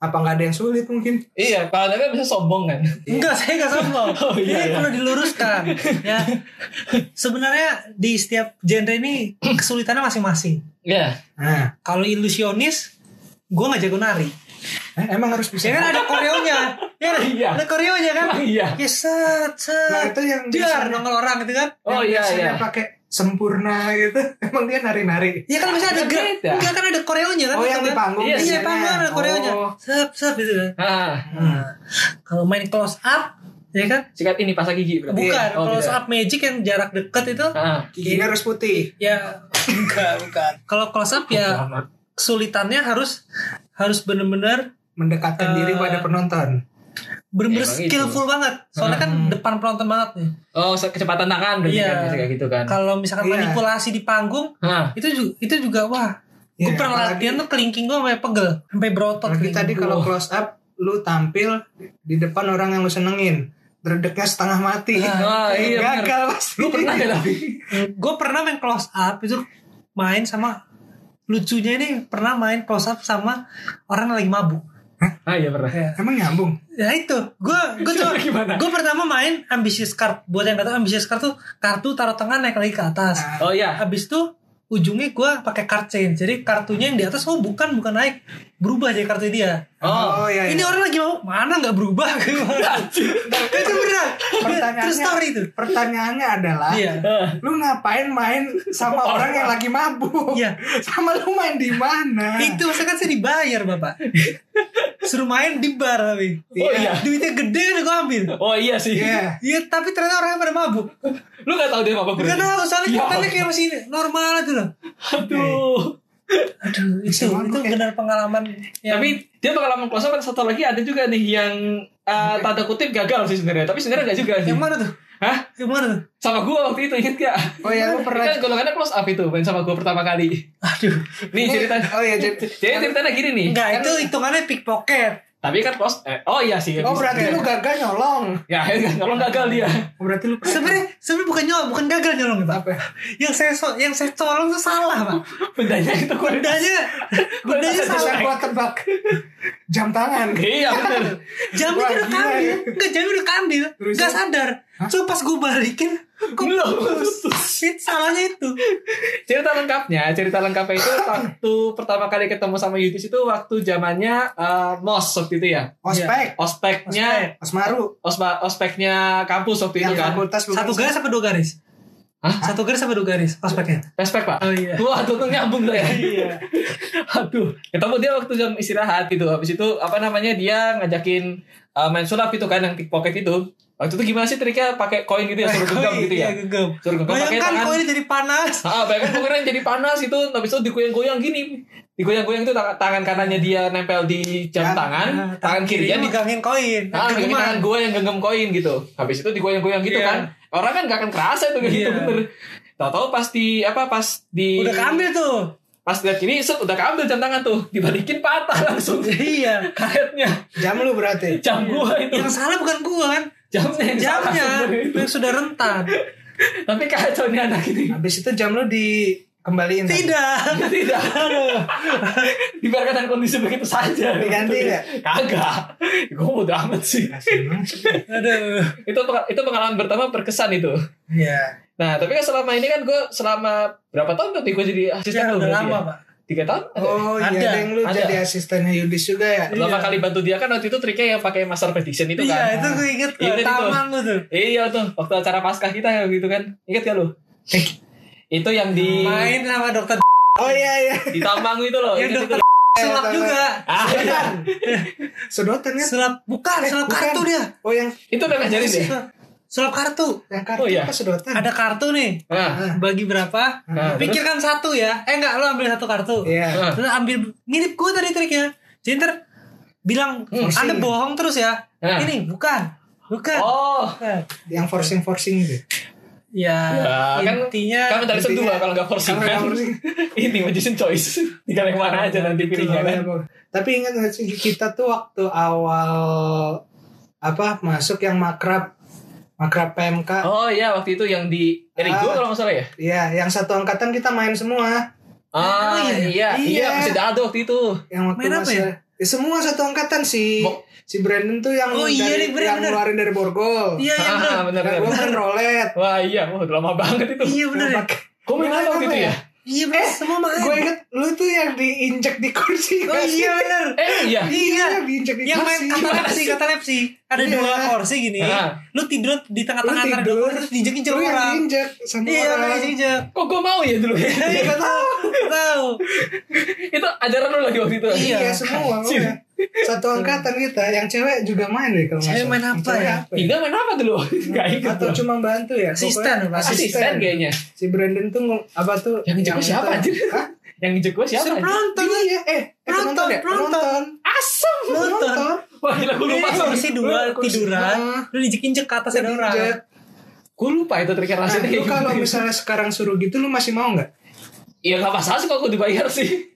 [SPEAKER 3] apa nggak ada yang sulit mungkin
[SPEAKER 1] iya kalau anda kan bisa sombong kan
[SPEAKER 2] Enggak, saya enggak sombong.
[SPEAKER 1] Oh, iya,
[SPEAKER 2] ini
[SPEAKER 1] iya.
[SPEAKER 2] perlu diluruskan ya. Sebenarnya di setiap genre ini kesulitannya masing-masing.
[SPEAKER 1] iya
[SPEAKER 3] nah
[SPEAKER 2] Kalau ilusionis gue nggak jago nari.
[SPEAKER 3] eh, emang harus bisa
[SPEAKER 2] Ya kan ada koreonya. Ya kan?
[SPEAKER 1] Iya.
[SPEAKER 2] Ada koreonya kan?
[SPEAKER 1] Emang iya
[SPEAKER 2] Ya set
[SPEAKER 3] nah
[SPEAKER 2] set.
[SPEAKER 3] itu yang
[SPEAKER 2] Dar
[SPEAKER 3] biasanya-
[SPEAKER 2] nongol orang gitu kan.
[SPEAKER 1] oh iya iya
[SPEAKER 3] biasanya pakai sempurna gitu emang dia nari-nari
[SPEAKER 2] Ya kan biasanya ada
[SPEAKER 1] Kan
[SPEAKER 2] gerak.
[SPEAKER 1] beda.
[SPEAKER 2] Enggak kan ada koreonya kan?
[SPEAKER 3] oh yang di
[SPEAKER 2] Kan?
[SPEAKER 3] panggung
[SPEAKER 1] Iya,
[SPEAKER 2] Iya,
[SPEAKER 3] biasanya.
[SPEAKER 2] paham kan ada koreonya.
[SPEAKER 1] Oh.
[SPEAKER 2] Sep sep gitu kan.
[SPEAKER 1] ah
[SPEAKER 3] Hmm.
[SPEAKER 2] Nah, kalau main close up ya kan?
[SPEAKER 1] sikat ini pasang gigi berarti
[SPEAKER 2] Bukan,
[SPEAKER 1] oh,
[SPEAKER 2] close
[SPEAKER 1] beda.
[SPEAKER 2] up magic yang jarak dekat itu
[SPEAKER 1] ah
[SPEAKER 3] giginya harus putih
[SPEAKER 2] ya enggak bukan kalau close up ya kesulitannya harus harus bener-bener Eh.
[SPEAKER 3] mendekatkan diri pada penonton
[SPEAKER 2] bener-bener
[SPEAKER 1] Emang gitu.
[SPEAKER 2] skillful banget soalnya kan
[SPEAKER 3] Hmm.
[SPEAKER 2] depan penonton banget nih
[SPEAKER 1] oh se- kecepatan tangan berarti
[SPEAKER 2] Iya.
[SPEAKER 1] kan biasanya kayak gitu kan
[SPEAKER 2] kalau misalkan
[SPEAKER 3] Iya.
[SPEAKER 2] manipulasi di panggung
[SPEAKER 1] ah
[SPEAKER 2] itu juga itu juga wah gue
[SPEAKER 3] Iya,
[SPEAKER 2] pernah
[SPEAKER 3] apalagi-
[SPEAKER 2] latihan tuh kelingking gue sampai pegel sampai berotot
[SPEAKER 3] apalagi
[SPEAKER 2] kelingking.
[SPEAKER 3] tadi kalau close up lu tampil di depan orang yang lu senengin Dredeknya setengah mati Eh,
[SPEAKER 1] Ah, iya, bener.
[SPEAKER 3] gagal pasti
[SPEAKER 1] lu pernah ya tapi
[SPEAKER 2] gue pernah main close up itu main sama lucunya ini pernah main close up sama orang yang lagi mabuk
[SPEAKER 1] ah iya pernah
[SPEAKER 2] ya.
[SPEAKER 3] emang nyambung
[SPEAKER 2] Ya itu, gue gue tuh
[SPEAKER 1] Gimana?
[SPEAKER 2] gue pertama main ambisius card. Buat yang kata ambisius card tuh kartu taruh tengah naik lagi ke atas.
[SPEAKER 3] Ah,
[SPEAKER 1] oh iya
[SPEAKER 2] Habis itu ujungnya gue pakai card chain. Jadi kartunya yang di atas oh bukan bukan naik, berubah jadi kartu dia.
[SPEAKER 1] oh
[SPEAKER 3] oh iya, iya.
[SPEAKER 2] Ini orang lagi mau mana nggak berubah itu benar.
[SPEAKER 3] Pertanyaannya-
[SPEAKER 2] Terus story itu.
[SPEAKER 3] pertanyaannya adalah
[SPEAKER 2] Iya.
[SPEAKER 3] lu ngapain main sama orang yang lagi mabuk
[SPEAKER 2] Iya.
[SPEAKER 3] sama lu main di mana
[SPEAKER 2] Itu maksudnya kan saya dibayar bapak. Suruh main di bar tapi.
[SPEAKER 1] Oh, iya.
[SPEAKER 2] Duitnya gede kan gue ambil.
[SPEAKER 1] oh iya sih
[SPEAKER 3] Iya.
[SPEAKER 2] Iya tapi ternyata orangnya pada mabuk.
[SPEAKER 1] lu gak tau dia apa
[SPEAKER 2] Gak
[SPEAKER 1] berarti
[SPEAKER 2] tahu soalnya
[SPEAKER 1] Ya.
[SPEAKER 3] gitu.
[SPEAKER 2] katanya kayak masih normal aja loh.
[SPEAKER 1] aduh
[SPEAKER 2] Aduh, itu
[SPEAKER 3] Bisa mabuk
[SPEAKER 2] itu
[SPEAKER 3] ya.
[SPEAKER 2] benar pengalaman yang
[SPEAKER 3] Iya.
[SPEAKER 1] Tapi dia pengalaman close up satu lagi ada juga nih yang eh, tanda kutip gagal sih sebenarnya, tapi sebenarnya enggak juga sih.
[SPEAKER 2] yang mana tuh?
[SPEAKER 1] Hah?
[SPEAKER 2] Yang mana tuh?
[SPEAKER 1] Sama gua waktu itu inget gak?
[SPEAKER 3] Oh iya, lu pernah-
[SPEAKER 1] Kan golongannya close up itu main sama gua pertama kali.
[SPEAKER 2] Aduh,
[SPEAKER 1] Nih ceritanya.
[SPEAKER 3] oh iya jadi
[SPEAKER 1] Jadi ceritanya gini nih.
[SPEAKER 2] enggak
[SPEAKER 1] Kan-
[SPEAKER 2] itu hitungannya pickpocket.
[SPEAKER 1] Tapi kan pos eh, oh iya sih.
[SPEAKER 3] Oh
[SPEAKER 1] bisa juga.
[SPEAKER 3] berarti lu gagal nyolong. Oh,
[SPEAKER 1] ya kalau gagal dia.
[SPEAKER 3] Berarti lu
[SPEAKER 2] Sebenarnya sebenarnya bukan nyolong, bukan gagal nyolong ya, pak.
[SPEAKER 3] apa?
[SPEAKER 2] Yang saya so- yang saya colong itu salah pak.
[SPEAKER 1] Bendanya itu kurang.
[SPEAKER 2] Bendanya bendanya
[SPEAKER 1] Salah.
[SPEAKER 3] Bisa
[SPEAKER 2] salah.
[SPEAKER 3] gua tebak jam tangan.
[SPEAKER 1] Iya benar.
[SPEAKER 2] Jamnya
[SPEAKER 3] Wah,
[SPEAKER 2] kan udah
[SPEAKER 3] gila
[SPEAKER 2] kandil,
[SPEAKER 3] ya.
[SPEAKER 2] nggak jamnya udah kandil,
[SPEAKER 3] Terus?
[SPEAKER 2] nggak sadar. Cuma pas gue balikin, kok
[SPEAKER 1] Belum.
[SPEAKER 2] Shit, salahnya itu.
[SPEAKER 1] cerita lengkapnya, cerita lengkapnya itu waktu pertama kali ketemu sama Yudis itu waktu zamannya eh, MOS waktu itu ya.
[SPEAKER 3] Ospek,
[SPEAKER 1] Ospeknya
[SPEAKER 3] Osmaru,
[SPEAKER 1] Osma, ospeknya kampus waktu itu
[SPEAKER 3] yang
[SPEAKER 1] kan.
[SPEAKER 3] fakultas bukan
[SPEAKER 2] Iya. Satu garis apa dua garis?
[SPEAKER 1] Hah?
[SPEAKER 2] Satu garis apa dua garis? Ospeknya.
[SPEAKER 1] Respect, Pak.
[SPEAKER 2] Oh iya.
[SPEAKER 1] Wah, tuh nyambung tuh ya.
[SPEAKER 3] Iya.
[SPEAKER 1] Aduh, ketemu dia waktu jam istirahat gitu. Habis itu apa namanya dia ngajakin uh, main sulap itu kan yang pickpocket itu. Waktu itu gimana sih triknya pakai koin gitu ya suruh
[SPEAKER 2] Eh,
[SPEAKER 1] genggam gitu ya.
[SPEAKER 2] Gegam.
[SPEAKER 1] Suruh genggam pakai
[SPEAKER 2] Iya, Bayangkan
[SPEAKER 1] tangan.
[SPEAKER 2] koin jadi panas.
[SPEAKER 1] Ah, bayangkan pokoknya jadi panas itu habis itu digoyang-goyang gini. Digoyang-goyang itu tang- tangan kanannya dia nempel di jam
[SPEAKER 2] Iya.
[SPEAKER 3] Ya,
[SPEAKER 1] tangan,
[SPEAKER 2] Ah, Nah,
[SPEAKER 1] tangan kirinya di
[SPEAKER 2] digangin koin.
[SPEAKER 1] Ah,
[SPEAKER 2] Gegeman.
[SPEAKER 1] kaki tangan gue yang genggam koin gitu. Habis itu digoyang-goyang gitu
[SPEAKER 2] Iya.
[SPEAKER 1] kan. Orang kan gak akan kerasa tuh gitu
[SPEAKER 2] Iya.
[SPEAKER 1] bener. Tahu-tahu pas di apa pas di
[SPEAKER 2] Udah keambil tuh.
[SPEAKER 1] pas lihat gini set udah keambil jam tangan tuh dibalikin patah langsung
[SPEAKER 2] iya.
[SPEAKER 1] karetnya
[SPEAKER 3] jam lu berarti.
[SPEAKER 1] jam gua itu
[SPEAKER 2] Yang salah bukan gua kan,
[SPEAKER 1] jamnya yang salah
[SPEAKER 2] Iya. jamnya
[SPEAKER 1] sebenarnya itu.
[SPEAKER 2] yang sudah rentan.
[SPEAKER 1] tapi kacau nih anak ini
[SPEAKER 3] Habis itu jam lu dikembaliin. kan?
[SPEAKER 2] Tidak.
[SPEAKER 1] tidak dibiarkan dalam kondisi begitu saja
[SPEAKER 3] Diganti
[SPEAKER 2] ya?
[SPEAKER 3] nggak?
[SPEAKER 1] kagak gua udah amat sih
[SPEAKER 3] Kasih mas.
[SPEAKER 2] Aduh.
[SPEAKER 1] itu itu pengalaman pertama berkesan itu
[SPEAKER 2] Iya.
[SPEAKER 1] nah tapi kan selama ini kan gua selama berapa tahun berarti gua jadi asisten
[SPEAKER 2] Ya,
[SPEAKER 1] lu
[SPEAKER 2] udah
[SPEAKER 1] berarti
[SPEAKER 2] lama,
[SPEAKER 1] ya?
[SPEAKER 2] Pak.
[SPEAKER 1] tiga tahun ada ya?
[SPEAKER 3] Oh
[SPEAKER 2] Ada,
[SPEAKER 3] iya, Deng lu
[SPEAKER 1] ada.
[SPEAKER 3] jadi asistennya Yudis juga ya.
[SPEAKER 1] lama
[SPEAKER 2] Iya.
[SPEAKER 1] kali bantu dia kan waktu itu triknya yang pakai master petition itu
[SPEAKER 2] Iya,
[SPEAKER 1] kan
[SPEAKER 2] itu gue inget kok.
[SPEAKER 1] Ingat itu.
[SPEAKER 2] Taman lu tuh.
[SPEAKER 1] Iya tuh waktu acara paskah kita ya gitu kan. Ingat gak lu? Eh, itu yang di
[SPEAKER 2] Main sama dokter
[SPEAKER 3] Oh iya iya.
[SPEAKER 1] di Tamanggu itu loh.
[SPEAKER 2] yang
[SPEAKER 1] Ingat
[SPEAKER 2] dokter
[SPEAKER 1] itu?
[SPEAKER 2] sulap
[SPEAKER 3] Iya,
[SPEAKER 2] juga.
[SPEAKER 1] Ah, iya.
[SPEAKER 3] Sedotan kan?
[SPEAKER 2] Sulap Eh, bukan, sulap
[SPEAKER 3] bukan.
[SPEAKER 2] kartu dia.
[SPEAKER 3] Oh yang
[SPEAKER 1] itu udah ngajarin deh.
[SPEAKER 2] Sulap- Sulap kartu.
[SPEAKER 3] yang kartu
[SPEAKER 1] Oh, iya.
[SPEAKER 3] apa sedotan?
[SPEAKER 2] Ada kartu nih.
[SPEAKER 1] Nah,
[SPEAKER 3] Ah.
[SPEAKER 2] Kan. Bagi berapa?
[SPEAKER 1] nah, terus-
[SPEAKER 2] Pikirkan satu ya. Eh enggak, lu ambil satu kartu.
[SPEAKER 3] Iya.
[SPEAKER 1] Ah.
[SPEAKER 2] Terus ambil mirip gue tadi triknya. Jadi ntar bilang
[SPEAKER 1] Hmm,
[SPEAKER 2] Anda
[SPEAKER 3] sih.
[SPEAKER 2] bohong terus ya.
[SPEAKER 1] Ah.
[SPEAKER 2] Ini bukan. Bukan.
[SPEAKER 1] Oh,
[SPEAKER 2] Bukan.
[SPEAKER 3] Yang forcing forcing gitu.
[SPEAKER 2] Ya,
[SPEAKER 1] Ya, kan-
[SPEAKER 2] intinya
[SPEAKER 1] kan dari dua
[SPEAKER 3] intinya-
[SPEAKER 1] kalau nggak forcing
[SPEAKER 3] kalau nggak
[SPEAKER 1] kan.
[SPEAKER 3] forcing.
[SPEAKER 1] Ini magician choice. Tinggal yang mana aja nanti pilihnya kan.
[SPEAKER 3] gitu, iya, Tapi ingat nggak sih kita tuh waktu awal apa masuk yang makrab makrab PMK.
[SPEAKER 1] Oh iya waktu itu yang di Erigo
[SPEAKER 3] Ah.
[SPEAKER 1] kalau nggak salah ya.
[SPEAKER 3] Iya, yang satu angkatan kita main semua.
[SPEAKER 1] Ah
[SPEAKER 2] iya,
[SPEAKER 1] iya
[SPEAKER 3] iya.
[SPEAKER 1] iya masih ada waktu itu.
[SPEAKER 3] Yang waktu
[SPEAKER 2] Main apa
[SPEAKER 3] masa-
[SPEAKER 2] ya?
[SPEAKER 3] Ya, semua satu angkatan si
[SPEAKER 1] Bo-
[SPEAKER 3] si Brandon tuh yang
[SPEAKER 2] Oh,
[SPEAKER 3] dari,
[SPEAKER 2] iya, nih,
[SPEAKER 3] yang
[SPEAKER 2] bener-bener.
[SPEAKER 3] ngeluarin dari borgol.
[SPEAKER 2] Iya, iya benar.
[SPEAKER 1] Ah, benar
[SPEAKER 3] Nah, gue
[SPEAKER 1] benar.
[SPEAKER 3] main roulette.
[SPEAKER 1] Wah iya, wah udah lama banget itu.
[SPEAKER 2] Iya benar. ya.
[SPEAKER 1] Kok main apa waktu itu ya?
[SPEAKER 2] Iya benar. Semua main.
[SPEAKER 3] Gue inget lu tuh yang diinjek di kursi.
[SPEAKER 2] Oh
[SPEAKER 3] nggak sih?
[SPEAKER 2] iya benar.
[SPEAKER 1] Eh iya.
[SPEAKER 3] Iya, diinjek di
[SPEAKER 2] yang main
[SPEAKER 3] kursi.
[SPEAKER 2] katalepsi katalepsi ada
[SPEAKER 3] Iya.
[SPEAKER 2] dua kursi gini
[SPEAKER 1] Ah.
[SPEAKER 2] lu tidur di tengah-tengah
[SPEAKER 3] Lu
[SPEAKER 2] antara dua
[SPEAKER 3] tidur.
[SPEAKER 2] kursi terus dijek injek
[SPEAKER 3] Lu yang
[SPEAKER 2] orang
[SPEAKER 3] diinjek sama
[SPEAKER 2] iya
[SPEAKER 3] orang.
[SPEAKER 2] dijek injek
[SPEAKER 1] Kok gue mau ya dulu?
[SPEAKER 2] Iya, gak tahu, gak tahu.
[SPEAKER 1] itu ajaran lu lagi waktu itu.
[SPEAKER 2] Iya.
[SPEAKER 3] Iya, semua.
[SPEAKER 1] Anjir.
[SPEAKER 3] udah. Satu angkatan kita, yang cewek juga main deh kalau nggak
[SPEAKER 2] Cewek
[SPEAKER 3] salah.
[SPEAKER 2] main apa
[SPEAKER 3] Cewek
[SPEAKER 2] ya?
[SPEAKER 1] Indah main apa dulu?
[SPEAKER 2] Iya,
[SPEAKER 1] Gak ingat
[SPEAKER 3] Atau
[SPEAKER 1] gua.
[SPEAKER 3] cuma bantu ya?
[SPEAKER 2] Asisten,
[SPEAKER 3] Pokoknya
[SPEAKER 2] Pak.
[SPEAKER 1] Iya, Asisten kayaknya.
[SPEAKER 3] Si Brandon tuh ngel- apa tuh?
[SPEAKER 1] Yang injek gua siapa, anjir?
[SPEAKER 3] Hah?
[SPEAKER 1] Yang ngejek gue siapa? anjir?
[SPEAKER 2] penonton
[SPEAKER 3] Iya, eh,
[SPEAKER 2] Penonton,
[SPEAKER 3] penonton ya?
[SPEAKER 2] penonton.
[SPEAKER 3] Penonton.
[SPEAKER 1] Asem.
[SPEAKER 2] penonton
[SPEAKER 3] Penonton.
[SPEAKER 1] Wah gila gue lupa.
[SPEAKER 2] Iya, kursi dua
[SPEAKER 1] Kursi-
[SPEAKER 2] tiduran
[SPEAKER 3] Ah.
[SPEAKER 2] lu dijek injek ke atas ada orang
[SPEAKER 3] Diinjek.
[SPEAKER 1] Gue lupa itu triknya
[SPEAKER 3] Nah,
[SPEAKER 1] rasanya. kayak
[SPEAKER 3] lu kalau
[SPEAKER 1] gitu.
[SPEAKER 3] misalnya sekarang suruh gitu lu masih mau nggak?
[SPEAKER 1] Iya gak masalah sih kalau gue dibayar sih.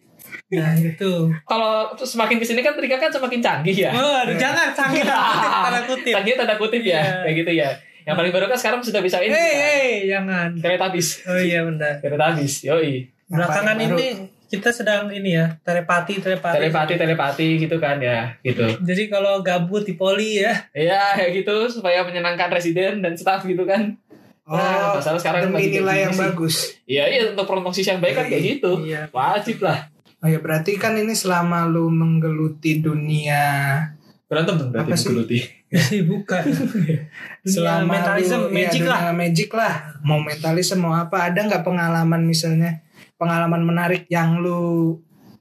[SPEAKER 2] nah itu
[SPEAKER 1] Kalau semakin kesini kan triknya kan semakin canggih ya.
[SPEAKER 2] oh aduh, jangan sanggih tanda kutip tanda kutip
[SPEAKER 1] Canggih tanda kutip
[SPEAKER 2] Iya.
[SPEAKER 1] ya. Kayak gitu ya. Yang paling baru kan sekarang sudah bisa
[SPEAKER 2] hei
[SPEAKER 1] ini. kan.
[SPEAKER 2] hei jangan
[SPEAKER 1] Teletubbies.
[SPEAKER 2] oh iya benar
[SPEAKER 1] Teletubbies. Yoi.
[SPEAKER 3] Yang
[SPEAKER 2] belakangan
[SPEAKER 3] paling baru.
[SPEAKER 2] ini kita sedang ini ya telepati telepati
[SPEAKER 1] Telepati telepati gitu kan ya. Gitu.
[SPEAKER 2] jadi kalau gabut di poli ya
[SPEAKER 1] Iya kayak gitu supaya menyenangkan residen dan staff gitu kan. Nah,
[SPEAKER 3] Oh,
[SPEAKER 1] masalah sekarang
[SPEAKER 3] demi
[SPEAKER 1] lagi kayak
[SPEAKER 3] nilai
[SPEAKER 1] gini
[SPEAKER 3] yang
[SPEAKER 1] sih.
[SPEAKER 3] bagus.
[SPEAKER 1] Iya iya untuk promosi yang baik kan kayak gitu.
[SPEAKER 2] Iya.
[SPEAKER 1] Wajib lah.
[SPEAKER 3] Oh ya berarti kan ini selama lu menggeluti dunia
[SPEAKER 1] Berantem tuh berarti
[SPEAKER 3] Apa sih?
[SPEAKER 1] menggeluti.
[SPEAKER 2] bukan selama
[SPEAKER 3] selama
[SPEAKER 2] mentalism
[SPEAKER 3] lu- iya,
[SPEAKER 2] magic
[SPEAKER 3] dunia
[SPEAKER 2] lah
[SPEAKER 3] magic lah mau mentalism mau apa ada nggak pengalaman misalnya pengalaman menarik yang lu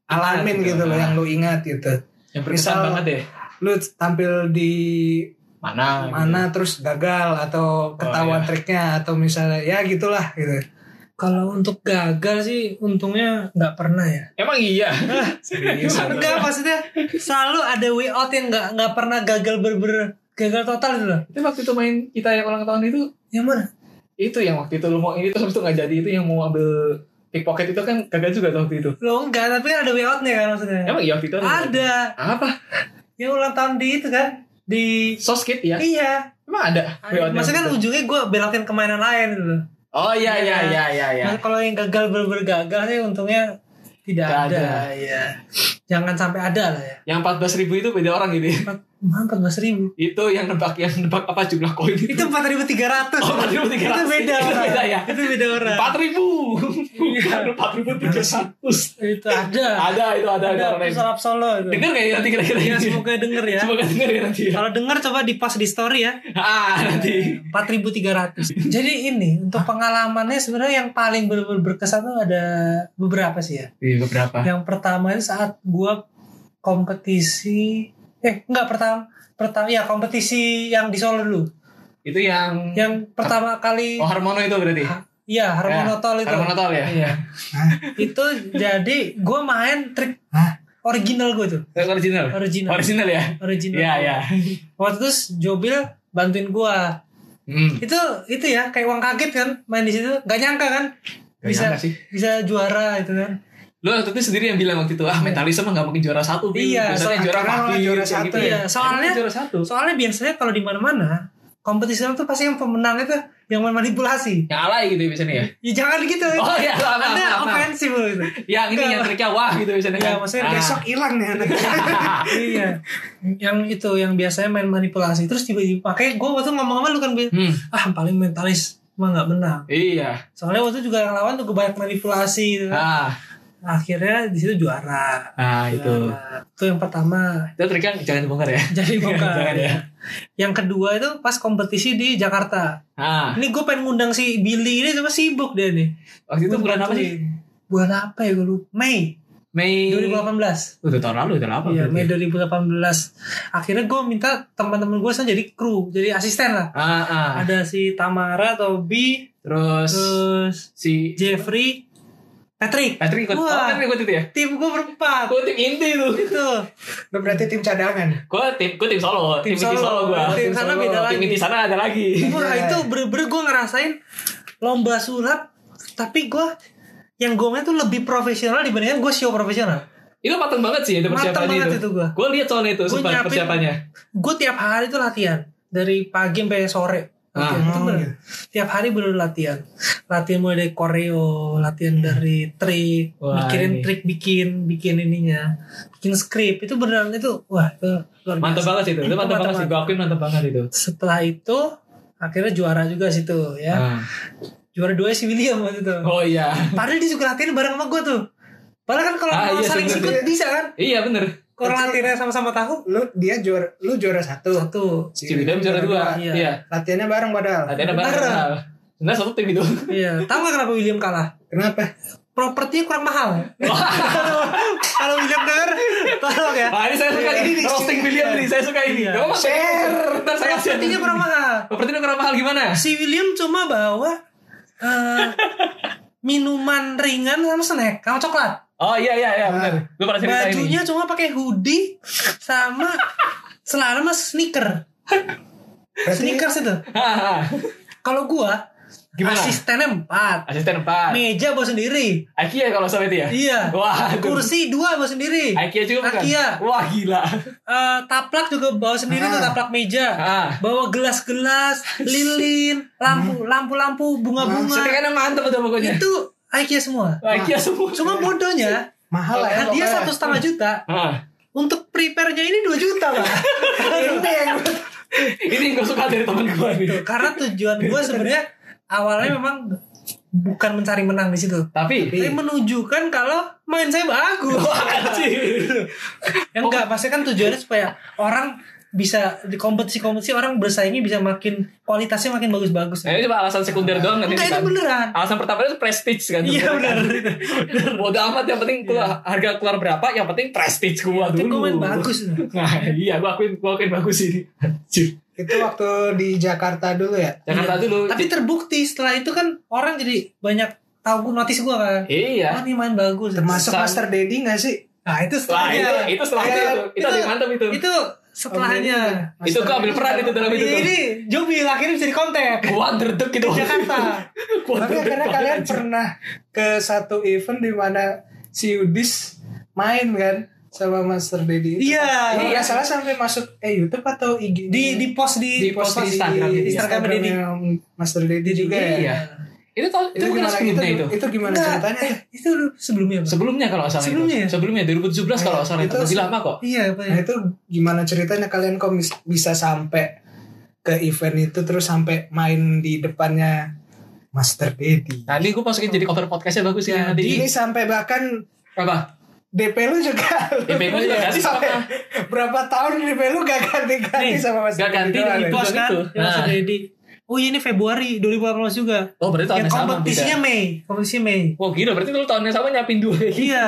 [SPEAKER 3] alamin
[SPEAKER 1] Ingat,
[SPEAKER 3] gitu loh
[SPEAKER 1] ah.
[SPEAKER 3] yang lu ingat gitu
[SPEAKER 1] Yang berkesan
[SPEAKER 3] Misal-
[SPEAKER 1] banget deh.
[SPEAKER 3] lu tampil di
[SPEAKER 1] Mana? gitu.
[SPEAKER 3] mana terus gagal atau
[SPEAKER 1] iya.
[SPEAKER 3] ketahuan
[SPEAKER 1] Nah.
[SPEAKER 3] triknya atau misalnya ya gitulah gitu
[SPEAKER 2] kalau untuk gagal sih untungnya nggak pernah ya
[SPEAKER 1] Emang iya.
[SPEAKER 3] serius
[SPEAKER 2] enggak maksudnya selalu ada way out yang nggak nggak pernah gagal berber gagal total gitu loh
[SPEAKER 1] itu waktu itu main kita yang ulang tahun itu
[SPEAKER 2] yang mana
[SPEAKER 1] itu yang waktu itu lu mau ini terus habis itu nggak jadi itu yang mau ambil pickpocket itu kan gagal juga tuh waktu itu.
[SPEAKER 2] lo enggak tapi kan ada way outnya kan maksudnya
[SPEAKER 1] Emang iya waktu itu.
[SPEAKER 2] ada
[SPEAKER 1] Apa?
[SPEAKER 2] yang ulang tahun di itu kan di
[SPEAKER 1] Soskit ya?
[SPEAKER 2] iya
[SPEAKER 1] Emang ada? BO-nya?
[SPEAKER 2] maksudnya kan ujungnya gue belokin kemainan lain gitu loh.
[SPEAKER 1] Oh iya iya iya iya iya.
[SPEAKER 2] Nah, kalau yang gagal berber gagal sih untungnya tidak
[SPEAKER 1] Tidak
[SPEAKER 2] ada.
[SPEAKER 1] ada.
[SPEAKER 2] ya. Jangan sampai ada lah ya.
[SPEAKER 1] Yang 14.000 itu beda orang gitu ya.
[SPEAKER 2] Empat belas ribu.
[SPEAKER 1] Itu yang nebak yang nebak apa jumlah koin itu.
[SPEAKER 2] Itu empat ribu tiga ratus.
[SPEAKER 1] Oh, 4.300.
[SPEAKER 2] Itu beda.
[SPEAKER 1] Itu
[SPEAKER 2] orang.
[SPEAKER 1] beda ya?
[SPEAKER 2] Itu beda orang.
[SPEAKER 1] 4.000. Bukan 4.300.
[SPEAKER 2] Itu ada.
[SPEAKER 1] Ada itu Iya. ada ada
[SPEAKER 2] Ada. Itu
[SPEAKER 1] orang lain.
[SPEAKER 2] salap solo. itu.
[SPEAKER 1] Dengar nggak ya nanti kira-kira
[SPEAKER 2] Ya
[SPEAKER 1] ini?
[SPEAKER 2] semoga denger ya.
[SPEAKER 1] Semoga dengar ya nanti ya.
[SPEAKER 2] Kalau denger coba di post di story ya.
[SPEAKER 1] Ah nanti.
[SPEAKER 2] 4.300. Jadi ini untuk pengalamannya sebenarnya yang paling benar berkesan tuh ada beberapa sih ya.
[SPEAKER 1] Iya beberapa.
[SPEAKER 2] Yang pertama itu saat gua kompetisi eh enggak pertama pertama ya kompetisi yang di Solo dulu.
[SPEAKER 1] Itu yang
[SPEAKER 2] Yang pertama kali
[SPEAKER 1] Oh Harmono itu berarti.
[SPEAKER 2] Iya, Harmono Tol itu.
[SPEAKER 1] Harmono Tol ya.
[SPEAKER 2] Iya. itu jadi gua main trik
[SPEAKER 3] Hah?
[SPEAKER 2] original gua tuh.
[SPEAKER 1] Yang Original.
[SPEAKER 2] Original.
[SPEAKER 1] Original ya.
[SPEAKER 2] Original.
[SPEAKER 1] Iya iya.
[SPEAKER 2] Waktu itu Jobil bantuin gua.
[SPEAKER 1] Hmm.
[SPEAKER 2] itu itu ya kayak uang kaget kan main di situ nggak nyangka kan
[SPEAKER 1] Nggak
[SPEAKER 2] bisa
[SPEAKER 1] nyangka sih.
[SPEAKER 2] bisa juara itu kan
[SPEAKER 1] Lo waktu itu sendiri yang bilang waktu itu ah mentalisme nggak mungkin juara satu Bil.
[SPEAKER 2] Iya,
[SPEAKER 1] biasanya
[SPEAKER 3] soalnya
[SPEAKER 1] juara
[SPEAKER 3] karena
[SPEAKER 1] pagi
[SPEAKER 3] juara
[SPEAKER 1] kayak
[SPEAKER 3] satu
[SPEAKER 1] gitu
[SPEAKER 2] ya. Soalnya-
[SPEAKER 1] Karena juara satu
[SPEAKER 2] soalnya biasanya kalau di mana-mana kompetisi itu pasti yang pemenang itu yang memanipulasi
[SPEAKER 1] yang alay gitu ya biasanya ya
[SPEAKER 2] ya jangan gitu
[SPEAKER 1] oh iya maaf, maaf,
[SPEAKER 2] anda
[SPEAKER 1] maaf, maaf.
[SPEAKER 2] ofensif loh itu
[SPEAKER 1] yang ini yang triknya wah gitu biasanya
[SPEAKER 2] ya
[SPEAKER 1] kan
[SPEAKER 2] maksudnya
[SPEAKER 1] Ah.
[SPEAKER 2] besok
[SPEAKER 3] Sok hilang nih anak.
[SPEAKER 2] iya yang itu yang biasanya main manipulasi terus tiba-tiba makanya gue waktu ngomong sama lu kan Bil,
[SPEAKER 1] hmm.
[SPEAKER 2] ah paling mentalis mah nggak menang
[SPEAKER 1] iya
[SPEAKER 2] soalnya waktu itu juga yang lawan tuh banyak manipulasi gitu kan.
[SPEAKER 1] ah
[SPEAKER 2] akhirnya di situ juara
[SPEAKER 1] ah itu
[SPEAKER 2] Juara. Iya, itu yang pertama
[SPEAKER 1] itu triknya jangan dibongkar ya
[SPEAKER 2] jadi bukan
[SPEAKER 1] Jangan ya.
[SPEAKER 2] yang kedua itu pas kompetisi di Jakarta
[SPEAKER 1] ah
[SPEAKER 2] ini gue pengen ngundang si Billy ini cuma sibuk dia nih
[SPEAKER 1] waktu itu
[SPEAKER 2] Gua
[SPEAKER 1] bulan apa sih
[SPEAKER 2] bantuin. bulan apa ya gue lupa Mei
[SPEAKER 1] Mei
[SPEAKER 2] 2018
[SPEAKER 1] udah tahun lalu udah lama
[SPEAKER 2] Iya
[SPEAKER 1] berarti.
[SPEAKER 2] Mei 2018 Akhirnya gue minta teman-teman gue sekarang jadi kru Jadi asisten lah
[SPEAKER 1] ah ah
[SPEAKER 2] Ada si Tamara, Tobi
[SPEAKER 1] terus
[SPEAKER 2] Terus
[SPEAKER 1] si
[SPEAKER 2] Jeffrey Patrick
[SPEAKER 1] Patrick ikut oh
[SPEAKER 2] Wah.
[SPEAKER 1] Patrick ikut itu ya
[SPEAKER 2] Tim gue berempat
[SPEAKER 1] gue tim inti tuh
[SPEAKER 2] Itu
[SPEAKER 3] Lu berarti tim cadangan.
[SPEAKER 1] gue tim gue tim solo tim,
[SPEAKER 2] Tim
[SPEAKER 1] inti
[SPEAKER 2] Solo.
[SPEAKER 1] solo gue
[SPEAKER 2] Tim
[SPEAKER 3] Tim
[SPEAKER 2] sana
[SPEAKER 3] Solo.
[SPEAKER 2] beda
[SPEAKER 1] tim inti
[SPEAKER 2] lagi
[SPEAKER 1] sana ada lagi
[SPEAKER 2] Wah
[SPEAKER 3] Iya.
[SPEAKER 2] itu bener-bener gue ngerasain Lomba sulap Tapi gue Yang gongnya tuh lebih profesional dibandingkan gue show profesional
[SPEAKER 1] itu mateng banget sih itu
[SPEAKER 2] Mateng
[SPEAKER 1] persiapannya
[SPEAKER 2] banget
[SPEAKER 1] itu,
[SPEAKER 2] itu gua.
[SPEAKER 1] gue lihat soalnya itu
[SPEAKER 2] Gua
[SPEAKER 1] sempat
[SPEAKER 2] nyiapin-
[SPEAKER 1] persiapannya
[SPEAKER 2] Gue tiap hari tuh latihan Dari pagi sampai sore
[SPEAKER 1] Ah.
[SPEAKER 2] Latihan, itu
[SPEAKER 3] Oh,
[SPEAKER 2] bener.
[SPEAKER 3] iya.
[SPEAKER 2] Tiap hari bener latihan Latihan mulai dari koreo Latihan dari trik
[SPEAKER 1] Hmm. Wah,
[SPEAKER 2] Mikirin
[SPEAKER 1] ini.
[SPEAKER 2] trik bikin Bikin ininya Bikin skrip Itu beneran itu Wah itu luar biasa
[SPEAKER 1] mantap banget sih itu itu mantap banget sih gue akuin mantap banget itu
[SPEAKER 2] Setelah itu Akhirnya juara juga situ ya
[SPEAKER 1] Ah.
[SPEAKER 2] Juara dua si William waktu itu
[SPEAKER 1] oh iya
[SPEAKER 2] Padahal dia suka latihan bareng sama gue tuh. Padahal kan kalau
[SPEAKER 1] Ah,
[SPEAKER 2] kalau
[SPEAKER 1] iya,
[SPEAKER 2] saling
[SPEAKER 1] sebenernya.
[SPEAKER 2] sikut bisa kan?
[SPEAKER 1] iya bener
[SPEAKER 2] Kalau latihannya sama-sama tahu.
[SPEAKER 3] Lu dia juara lu juara satu.
[SPEAKER 2] Satu.
[SPEAKER 3] Si
[SPEAKER 1] si William juara dua
[SPEAKER 2] Iya.
[SPEAKER 1] iya
[SPEAKER 3] Latihannya bareng padahal.
[SPEAKER 1] ada ada banget
[SPEAKER 2] Bener.
[SPEAKER 1] sebenarnya satu Nah, tim itu
[SPEAKER 2] Iya. Tahu nggak kenapa William kalah?
[SPEAKER 3] Kenapa?
[SPEAKER 2] Propertinya kurang mahal. kalau William denger, tolong ya.
[SPEAKER 1] ah ini saya suka ini nih roasting William nih saya suka ini
[SPEAKER 2] Iya.
[SPEAKER 1] Gak apa-apa.
[SPEAKER 3] Share.
[SPEAKER 1] ntar saya
[SPEAKER 2] Propertinya kurang mahal.
[SPEAKER 1] Propertinya kurang mahal gimana
[SPEAKER 2] Si William cuma bawa eh, minuman ringan sama snack, sama coklat.
[SPEAKER 1] oh iya iya iya bener gue pernah cerita ini
[SPEAKER 2] Bajunya cuma pakai hoodie sama celana sama sneaker.
[SPEAKER 3] Berarti
[SPEAKER 2] Sneakers itu.
[SPEAKER 1] Ah, ah.
[SPEAKER 2] Kalau gua
[SPEAKER 1] Gimana?
[SPEAKER 2] asistennya empat,
[SPEAKER 1] asisten empat
[SPEAKER 2] meja bawa sendiri,
[SPEAKER 1] Akia kalau sama itu ya
[SPEAKER 2] iya,
[SPEAKER 1] wah aduh.
[SPEAKER 2] kursi dua bawa sendiri,
[SPEAKER 1] Akia juga bukan
[SPEAKER 2] Akia.
[SPEAKER 1] wah gila
[SPEAKER 2] Eh, taplak juga bawa sendiri tuh
[SPEAKER 3] Ah.
[SPEAKER 2] taplak meja,
[SPEAKER 1] ah
[SPEAKER 2] bawa gelas-gelas, lilin,
[SPEAKER 1] Hmm.
[SPEAKER 2] lampu, lampu-lampu, bunga-bunga,
[SPEAKER 1] Settingannya kan mantep tuh pokoknya
[SPEAKER 2] itu IKEA semua.
[SPEAKER 1] Akia semua
[SPEAKER 2] Cuma bodohnya
[SPEAKER 3] mahal lah ya.
[SPEAKER 2] hadiah
[SPEAKER 3] pokoknya.
[SPEAKER 2] satu setengah juta,
[SPEAKER 1] Ah.
[SPEAKER 2] untuk prepare-nya ini 2 juta pak.
[SPEAKER 3] Ini yang
[SPEAKER 1] ini yang gue suka dari temen gue nih
[SPEAKER 2] Tuh, Karena tujuan gue sebenarnya awalnya memang bukan mencari menang di situ.
[SPEAKER 1] tapi
[SPEAKER 2] Tapi menunjukkan kalau main saya bagus.
[SPEAKER 1] Anjir.
[SPEAKER 2] Ya
[SPEAKER 1] Oh.
[SPEAKER 2] enggak, pasti kan tujuannya supaya orang bisa di kompetisi-kompetisi orang bersaingnya bisa makin kualitasnya makin bagus-bagus.
[SPEAKER 1] Nah, ini cuma alasan sekunder doang kan
[SPEAKER 2] Enggak
[SPEAKER 1] ini
[SPEAKER 2] itu
[SPEAKER 1] kan.
[SPEAKER 2] beneran.
[SPEAKER 1] Alasan pertama itu prestige kan.
[SPEAKER 2] Iya benar.
[SPEAKER 1] Bodoh amat yang penting keluar, harga keluar berapa, yang penting prestige gua
[SPEAKER 2] Tapi
[SPEAKER 1] dulu.
[SPEAKER 2] gue main bagus.
[SPEAKER 1] Nah, iya gua akuin gua akuin bagus ini. Anjir.
[SPEAKER 3] itu waktu di Jakarta dulu ya.
[SPEAKER 1] Jakarta dulu.
[SPEAKER 2] Iya. Tapi terbukti setelah itu kan orang jadi banyak tahu gue notice gue kan. Oh
[SPEAKER 1] iya.
[SPEAKER 2] nih main bagus.
[SPEAKER 3] Termasuk
[SPEAKER 1] Sang-
[SPEAKER 3] Master Dedi gak sih?
[SPEAKER 2] Nah itu
[SPEAKER 1] Wah,
[SPEAKER 2] setelahnya.
[SPEAKER 1] itu, itu setelahnya
[SPEAKER 2] Iya,
[SPEAKER 1] itu. Itu,
[SPEAKER 2] itu-
[SPEAKER 1] lebih mantap itu.
[SPEAKER 2] itu setelahnya.
[SPEAKER 1] Itu gua ambil peran itu dalam itu. Oh.
[SPEAKER 2] Ini,
[SPEAKER 1] tuh.
[SPEAKER 2] ini Jobil akhirnya bisa dikontak.
[SPEAKER 1] Wonderdek itu.
[SPEAKER 2] Iya kan? Jakarta.
[SPEAKER 3] Tapi
[SPEAKER 1] Wonderdek
[SPEAKER 3] karena
[SPEAKER 1] banget,
[SPEAKER 3] kalian
[SPEAKER 1] anjir.
[SPEAKER 3] pernah ke satu event di mana si Yudis main kan? sama Master Dedi itu.
[SPEAKER 2] Iya.
[SPEAKER 3] Ini nggak salah sampai masuk eh YouTube atau IG
[SPEAKER 2] Di di post di,
[SPEAKER 3] di post di
[SPEAKER 1] Instagram.
[SPEAKER 3] Instagram,
[SPEAKER 2] Instagram Dedi.
[SPEAKER 3] Master Dedi juga ya.
[SPEAKER 1] Iya. Itu tau itu,
[SPEAKER 3] Itu,
[SPEAKER 1] kenal
[SPEAKER 3] gimana
[SPEAKER 1] sebelumnya
[SPEAKER 3] itu,
[SPEAKER 1] itu.
[SPEAKER 3] itu gimana
[SPEAKER 2] Enggak,
[SPEAKER 3] ceritanya?
[SPEAKER 2] eh, itu sebelumnya. Bang.
[SPEAKER 1] Sebelumnya kalau nggak salah
[SPEAKER 2] Sebelumnya ya?
[SPEAKER 1] itu. Sebelumnya 2017 kalau nggak salah itu
[SPEAKER 3] Itu-
[SPEAKER 1] masih lama kok.
[SPEAKER 2] Iya, apa ya?
[SPEAKER 3] Nah itu gimana ceritanya kalian kok bis- bisa sampai ke event itu terus sampai main di depannya Master Dedi.
[SPEAKER 1] Nanti gue masukin jadi cover podcastnya bagus sih nanti.
[SPEAKER 3] Ini sampai bahkan
[SPEAKER 1] Apa?
[SPEAKER 3] DP lu juga
[SPEAKER 1] DP lu juga ganti sama-
[SPEAKER 3] Sampai berapa tahun DP lu gak ganti-ganti
[SPEAKER 2] Nih,
[SPEAKER 3] sama Mas
[SPEAKER 1] gak
[SPEAKER 3] Dedi
[SPEAKER 1] ganti
[SPEAKER 3] doang
[SPEAKER 1] di
[SPEAKER 3] ya?
[SPEAKER 2] Post
[SPEAKER 1] Itu-
[SPEAKER 2] kan?
[SPEAKER 1] itu.
[SPEAKER 2] Yang Master
[SPEAKER 1] Nah.
[SPEAKER 2] Dedi. Oh iya ini Februari 2018 juga.
[SPEAKER 1] Oh berarti
[SPEAKER 2] Ya,
[SPEAKER 1] tahunnya sama.
[SPEAKER 2] kompetisinya
[SPEAKER 1] beda.
[SPEAKER 2] Mei, kompetisinya Mei.
[SPEAKER 1] Wah gila berarti lu tahunnya sama nyiapin dua gitu. lagi.
[SPEAKER 2] Iya.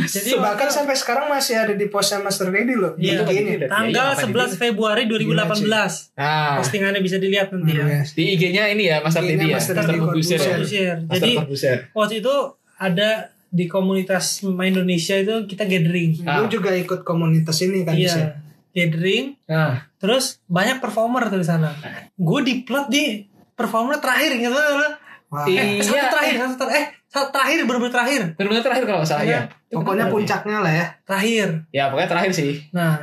[SPEAKER 2] Jadi
[SPEAKER 3] bahkan sampai sekarang masih ada di posnya Master Dedi loh
[SPEAKER 2] Iya.
[SPEAKER 3] Bentuk ini
[SPEAKER 1] Iya,
[SPEAKER 2] tanggal
[SPEAKER 1] iya,
[SPEAKER 2] 11 Februari 2018.
[SPEAKER 1] Nah
[SPEAKER 2] Postingannya bisa dilihat nanti ya.
[SPEAKER 3] Iya.
[SPEAKER 1] di IG-nya ini ya Master Dedi
[SPEAKER 3] IG-nya
[SPEAKER 1] ya.
[SPEAKER 3] Master
[SPEAKER 1] Master
[SPEAKER 3] Dedi
[SPEAKER 1] Corbusier. ya?
[SPEAKER 3] Corbusier.
[SPEAKER 2] Share.
[SPEAKER 1] Master
[SPEAKER 2] Jadi
[SPEAKER 1] Corbusier.
[SPEAKER 2] waktu itu ada di komunitas pemain Indonesia itu kita gathering.
[SPEAKER 1] Ah.
[SPEAKER 3] Lu juga ikut komunitas ini kan Cis, ya?
[SPEAKER 2] Iya. Gathering
[SPEAKER 1] Nah,
[SPEAKER 2] terus banyak performer tuh di sana. Gue diplot di performer terakhir gitu loh.
[SPEAKER 3] Wah,
[SPEAKER 1] Iya.
[SPEAKER 2] Eh, satu terakhir, satu terakhir, eh satu terakhir benar-benar terakhir.
[SPEAKER 1] benar-benar terakhir kalau nggak salah
[SPEAKER 2] Iya.
[SPEAKER 1] ya. Itu kenapa
[SPEAKER 3] Pokoknya
[SPEAKER 1] ya?
[SPEAKER 3] puncaknya lah ya
[SPEAKER 2] Terakhir.
[SPEAKER 1] Ya pokoknya terakhir sih.
[SPEAKER 2] Nah,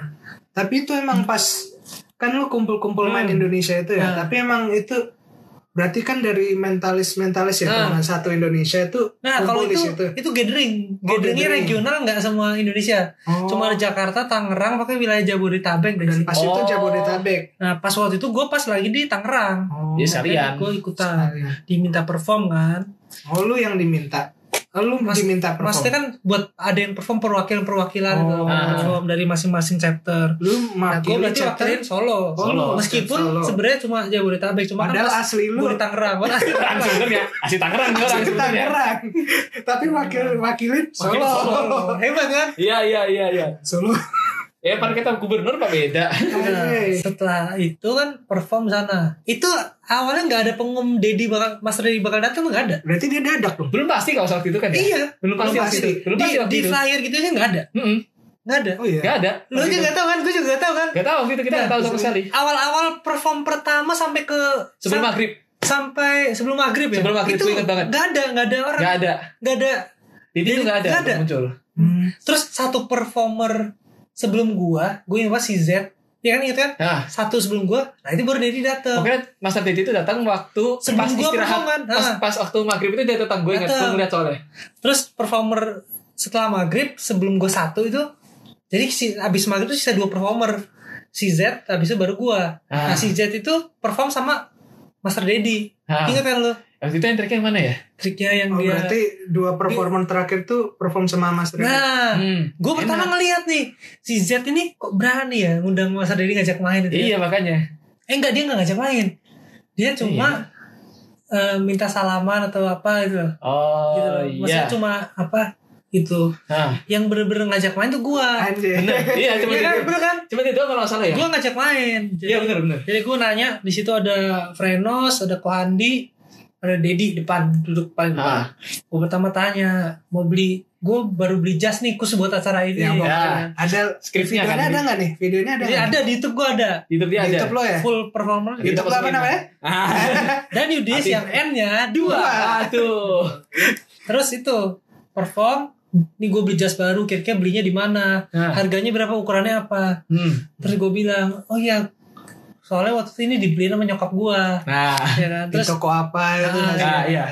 [SPEAKER 3] Tapi itu emang pas kan lu kumpul-kumpul main
[SPEAKER 2] Hmm.
[SPEAKER 3] Indonesia itu ya.
[SPEAKER 2] Nah.
[SPEAKER 3] Tapi emang itu berarti kan dari mentalis-mentalis ya
[SPEAKER 1] Nah.
[SPEAKER 3] teman satu Indonesia itu
[SPEAKER 2] Hmm. nah kalau
[SPEAKER 3] kumpul di
[SPEAKER 2] itu
[SPEAKER 3] situ.
[SPEAKER 2] itu gathering,
[SPEAKER 3] Oh,
[SPEAKER 2] gatheringnya
[SPEAKER 3] gathering.
[SPEAKER 2] regional nggak semua Indonesia.
[SPEAKER 3] Oh.
[SPEAKER 2] Cuma ada Jakarta, Tangerang, pakai wilayah Jabodetabek dan,
[SPEAKER 3] dan pas
[SPEAKER 1] Oh.
[SPEAKER 3] itu Jabodetabek.
[SPEAKER 2] Nah pas waktu itu gue pas lagi di Tangerang.
[SPEAKER 3] Oh.
[SPEAKER 1] Iya, sekali. Sekalian.
[SPEAKER 2] Gue ikutan
[SPEAKER 3] Sekalian.
[SPEAKER 2] diminta perform kan.
[SPEAKER 3] Oh, lu yang diminta. Oh, Lu
[SPEAKER 2] Mas-
[SPEAKER 3] diminta perform.
[SPEAKER 2] Maksudnya kan buat ada yang perform perwakilan-perwakilan
[SPEAKER 3] Oh.
[SPEAKER 2] gitu,
[SPEAKER 1] Ah.
[SPEAKER 2] perform dari masing-masing chapter.
[SPEAKER 3] lu
[SPEAKER 2] Nah, gue
[SPEAKER 3] mewakili
[SPEAKER 2] berarti
[SPEAKER 3] chapter.
[SPEAKER 2] wakilin
[SPEAKER 3] Oh,
[SPEAKER 2] Solo.
[SPEAKER 1] Solo.
[SPEAKER 2] Meskipun
[SPEAKER 3] Solo.
[SPEAKER 2] sebenarnya cuma Jabodetabek, cuma kan
[SPEAKER 3] padahal
[SPEAKER 2] pas
[SPEAKER 3] asli lu
[SPEAKER 2] gue di Tangerang, gue asli
[SPEAKER 1] Tangerang
[SPEAKER 2] Tangerang.
[SPEAKER 1] sebenarnya. Asli ya. Tangerang dia orang
[SPEAKER 3] asli
[SPEAKER 1] sebenarnya.
[SPEAKER 3] Tangerang. Tapi wakil wakilin Solo.
[SPEAKER 1] ya? Solo.
[SPEAKER 2] Hebat kan?
[SPEAKER 1] Iya iya iya iya.
[SPEAKER 3] Solo.
[SPEAKER 1] Ya kan kita gubernur pak beda. Iya,
[SPEAKER 2] Nah,
[SPEAKER 3] Oke.
[SPEAKER 2] setelah itu kan perform sana. Itu awalnya nggak ada pengum Dedi bakal Mas Dedi bakal datang nggak ada.
[SPEAKER 3] Berarti dia dadak loh.
[SPEAKER 1] Belum pasti kalau saat itu kan ya.
[SPEAKER 2] Iya.
[SPEAKER 1] Belum pasti
[SPEAKER 3] Belum
[SPEAKER 1] waktu
[SPEAKER 3] pasti.
[SPEAKER 1] itu. Belum
[SPEAKER 2] di,
[SPEAKER 1] pasti waktu
[SPEAKER 2] di
[SPEAKER 1] itu.
[SPEAKER 2] flyer gitu aja nggak ada.
[SPEAKER 1] Mm-mm.
[SPEAKER 2] Nggak ada.
[SPEAKER 3] Oh iya.
[SPEAKER 1] Nggak ada.
[SPEAKER 2] Lo aja nggak tahu kan? Gue juga nggak tahu kan.
[SPEAKER 1] Gak tahu waktu itu kita nggak tahu sama sekali.
[SPEAKER 2] Awal-awal perform pertama sampai ke
[SPEAKER 1] Sebelum
[SPEAKER 2] sam-
[SPEAKER 1] maghrib.
[SPEAKER 2] sampai sebelum maghrib ya.
[SPEAKER 1] Sebelum maghrib,
[SPEAKER 2] itu
[SPEAKER 1] gua ingat banget.
[SPEAKER 2] Nggak ada, nggak ada orang,
[SPEAKER 1] Gak ada.
[SPEAKER 2] nggak ada.
[SPEAKER 1] Jadi itu
[SPEAKER 2] Jadi
[SPEAKER 1] gak ada.
[SPEAKER 2] nggak ada.
[SPEAKER 1] nggak Muncul.
[SPEAKER 3] Hmm.
[SPEAKER 2] Terus satu performer sebelum gua, gue ingat banget si Z. Ya kan ingat kan?
[SPEAKER 1] Nah.
[SPEAKER 2] Satu sebelum gua, nah itu baru Dedi datang.
[SPEAKER 1] Pokoknya Mas Dedi itu datang waktu
[SPEAKER 2] Sebelum
[SPEAKER 1] pas
[SPEAKER 2] gua
[SPEAKER 1] istirahat.
[SPEAKER 2] performan.
[SPEAKER 1] Pas,
[SPEAKER 2] Ah.
[SPEAKER 1] pas waktu maghrib itu dia datang gue ingat gue
[SPEAKER 2] Datang.
[SPEAKER 1] ngeliat soalnya.
[SPEAKER 2] Terus performer setelah maghrib sebelum gue satu itu jadi si, abis maghrib itu sisa dua performer si Z abis itu baru gue
[SPEAKER 1] Ah.
[SPEAKER 2] nah si Z itu perform sama Master Dedi
[SPEAKER 1] Ah.
[SPEAKER 2] ingat kan lo
[SPEAKER 1] Waktu itu yang triknya yang mana ya?
[SPEAKER 2] triknya yang
[SPEAKER 3] Oh,
[SPEAKER 2] dia
[SPEAKER 3] berarti dua performan terakhir tuh perform sama Mas Reza.
[SPEAKER 2] nah
[SPEAKER 1] Hmm.
[SPEAKER 2] gue pertama ngeliat nih si Z ini kok berani ya ngundang Master Dedi ngajak main gitu
[SPEAKER 1] Iya makanya.
[SPEAKER 2] eh enggak dia nggak ngajak main dia cuma eh, minta salaman atau apa gitu loh gitu
[SPEAKER 1] Iya. Oh
[SPEAKER 2] loh.
[SPEAKER 1] iya.
[SPEAKER 2] maksudnya cuma apa gitu
[SPEAKER 1] Nah,
[SPEAKER 2] yang bener-bener ngajak main tuh gue
[SPEAKER 3] Anjir.
[SPEAKER 1] bener. Iya
[SPEAKER 2] Iya
[SPEAKER 1] cuma itu.
[SPEAKER 2] kan, bener kan?
[SPEAKER 1] Cuma itu doang kalau nggak salah ya.
[SPEAKER 2] Gue ngajak main. Jadi,
[SPEAKER 1] Iya benar benar.
[SPEAKER 2] Jadi gue nanya di situ ada Frenos, ada Kohandi, ada Dedi depan duduk paling depan.
[SPEAKER 1] Ah.
[SPEAKER 2] Gue pertama tanya mau beli, gue baru beli jas nih khusus buat acara ini. Iya.
[SPEAKER 3] Yang
[SPEAKER 1] Ya.
[SPEAKER 3] Ada
[SPEAKER 1] Skripnya
[SPEAKER 3] videonya
[SPEAKER 1] kan.
[SPEAKER 3] ada nggak nih? Videonya ada.
[SPEAKER 2] Jadi
[SPEAKER 3] nggak?
[SPEAKER 2] Iya, ada di YouTube gue ada
[SPEAKER 1] Di YouTube dia
[SPEAKER 3] Di
[SPEAKER 1] ada.
[SPEAKER 3] YouTube lo ya.
[SPEAKER 2] full performer
[SPEAKER 1] Gitu.
[SPEAKER 3] YouTube lo apa
[SPEAKER 1] masukin.
[SPEAKER 3] namanya?
[SPEAKER 1] Ah,
[SPEAKER 2] dan Yudis
[SPEAKER 1] Asik.
[SPEAKER 2] yang N-nya dua.
[SPEAKER 1] Wah, aduh.
[SPEAKER 2] Terus itu perform, nih gue beli jas baru, kira-kira belinya di mana?
[SPEAKER 1] Nah.
[SPEAKER 2] Harganya berapa? Ukurannya apa?
[SPEAKER 1] Hmm.
[SPEAKER 2] Terus gue bilang, oh iya, soalnya waktu itu ini dibeliin sama nyokap gue.
[SPEAKER 1] Nah,
[SPEAKER 2] Ya kan?
[SPEAKER 3] Di
[SPEAKER 2] Terus
[SPEAKER 3] toko apa itu?
[SPEAKER 2] Ah,
[SPEAKER 3] nggak sih? Nah,
[SPEAKER 1] ah, iya.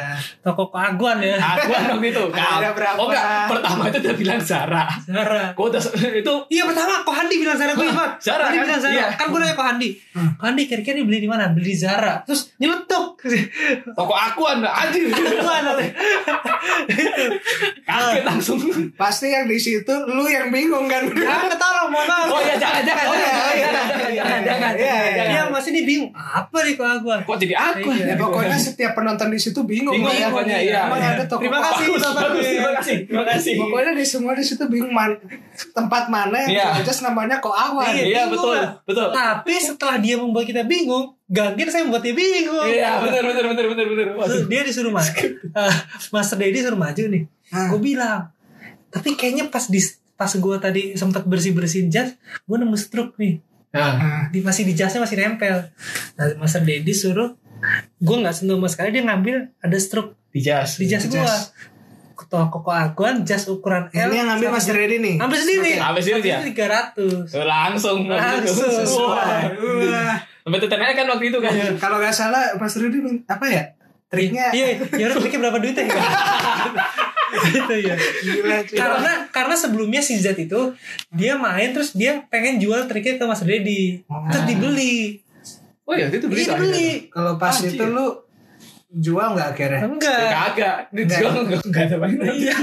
[SPEAKER 2] toko keaguan ya
[SPEAKER 1] aku dong itu.
[SPEAKER 3] Ada berapa?
[SPEAKER 1] Oh enggak, pertama itu dia bilang Zara.
[SPEAKER 2] Zara
[SPEAKER 1] Gua udah itu
[SPEAKER 2] iya pertama kok Handi bilang Zara gue ingat
[SPEAKER 1] Zara
[SPEAKER 2] Handi
[SPEAKER 1] kan?
[SPEAKER 2] bilang Zara
[SPEAKER 1] Iya.
[SPEAKER 2] kan gue nanya kok Handi
[SPEAKER 3] Hmm.
[SPEAKER 2] Kok Handi kira-kira ini beli di mana beli di Zara terus nyeletuk
[SPEAKER 1] toko akuan anjir.
[SPEAKER 2] keaguan
[SPEAKER 1] Iya. Kaget langsung.
[SPEAKER 3] Pasti yang di situ lu yang bingung kan.
[SPEAKER 2] jangan ketaruh mau taruh
[SPEAKER 1] Oh iya jangan jangan
[SPEAKER 3] Oh, iya,
[SPEAKER 1] jangan
[SPEAKER 3] iya,
[SPEAKER 1] jangan jangan,
[SPEAKER 3] iya,
[SPEAKER 1] jangan
[SPEAKER 3] iya,
[SPEAKER 1] jangan
[SPEAKER 3] iya,
[SPEAKER 1] jangan,
[SPEAKER 3] iya.
[SPEAKER 2] dia
[SPEAKER 1] jangan.
[SPEAKER 2] masih nih bingung apa nih keaguan
[SPEAKER 1] Kok jadi aku?
[SPEAKER 2] Iya.
[SPEAKER 3] Ya, pokoknya setiap penonton di situ bingung.
[SPEAKER 1] Bingung,
[SPEAKER 3] ya.
[SPEAKER 1] pokoknya, iya.
[SPEAKER 3] Emang
[SPEAKER 1] Iya.
[SPEAKER 3] ada toko.
[SPEAKER 2] Terima kasih.
[SPEAKER 1] Bagus,
[SPEAKER 2] Bapak.
[SPEAKER 1] bagus, terima kasih. Terima kasih.
[SPEAKER 3] Pokoknya di semua di situ bingung man- tempat mana yang
[SPEAKER 1] Iya.
[SPEAKER 3] jelas namanya kok awan.
[SPEAKER 1] Iya,
[SPEAKER 2] bingung
[SPEAKER 1] betul,
[SPEAKER 2] lah.
[SPEAKER 1] betul.
[SPEAKER 3] Nah,
[SPEAKER 2] tapi setelah dia membuat kita bingung Gagin saya membuat dia bingung
[SPEAKER 1] Iya, benar benar benar benar benar. Waduh.
[SPEAKER 2] Terus dia disuruh maju Eh, Master Dedi suruh maju nih
[SPEAKER 3] Ah.
[SPEAKER 2] gue bilang tapi kayaknya pas di pas gue tadi sempat bersih bersihin jas gue nemu struk nih
[SPEAKER 1] Nah,
[SPEAKER 3] Nah,
[SPEAKER 2] di masih di jasnya masih nempel nah Master Dedi suruh gue nggak sentuh sama sekali dia ngambil ada struk
[SPEAKER 1] di Iya, jas.
[SPEAKER 2] di jas
[SPEAKER 3] Di
[SPEAKER 2] gue
[SPEAKER 3] jas.
[SPEAKER 2] toh koko Aguan jas ukuran L
[SPEAKER 3] Ini yang ngambil Mas Redi nih.
[SPEAKER 2] Iya. ambil sendiri
[SPEAKER 1] Oke, ambil sendiri dia?
[SPEAKER 2] tiga ratus
[SPEAKER 1] Oh, Langsung
[SPEAKER 2] Langsung.
[SPEAKER 1] Wah.
[SPEAKER 3] Wah.
[SPEAKER 1] Sampai tetananya kan waktu itu kan.
[SPEAKER 3] Kalau nggak salah Mas Redi apa ya? Triknya
[SPEAKER 2] iya ya udah pikir berapa duitnya ya gitu ya
[SPEAKER 3] gila cuy.
[SPEAKER 2] karena karena sebelumnya si Z itu dia main terus dia pengen jual triknya ke Mas Dedi terus dibeli
[SPEAKER 1] Oh iya, itu beli
[SPEAKER 2] iya
[SPEAKER 1] soalnya.
[SPEAKER 2] dibeli
[SPEAKER 3] Kalau pas
[SPEAKER 2] Ah,
[SPEAKER 1] Anjir.
[SPEAKER 3] itu lu jual nggak
[SPEAKER 2] ya?
[SPEAKER 3] akhirnya?
[SPEAKER 2] enggak
[SPEAKER 1] Eh, Kagak, dijual enggak enggak ada
[SPEAKER 2] Iya.
[SPEAKER 1] mainannya.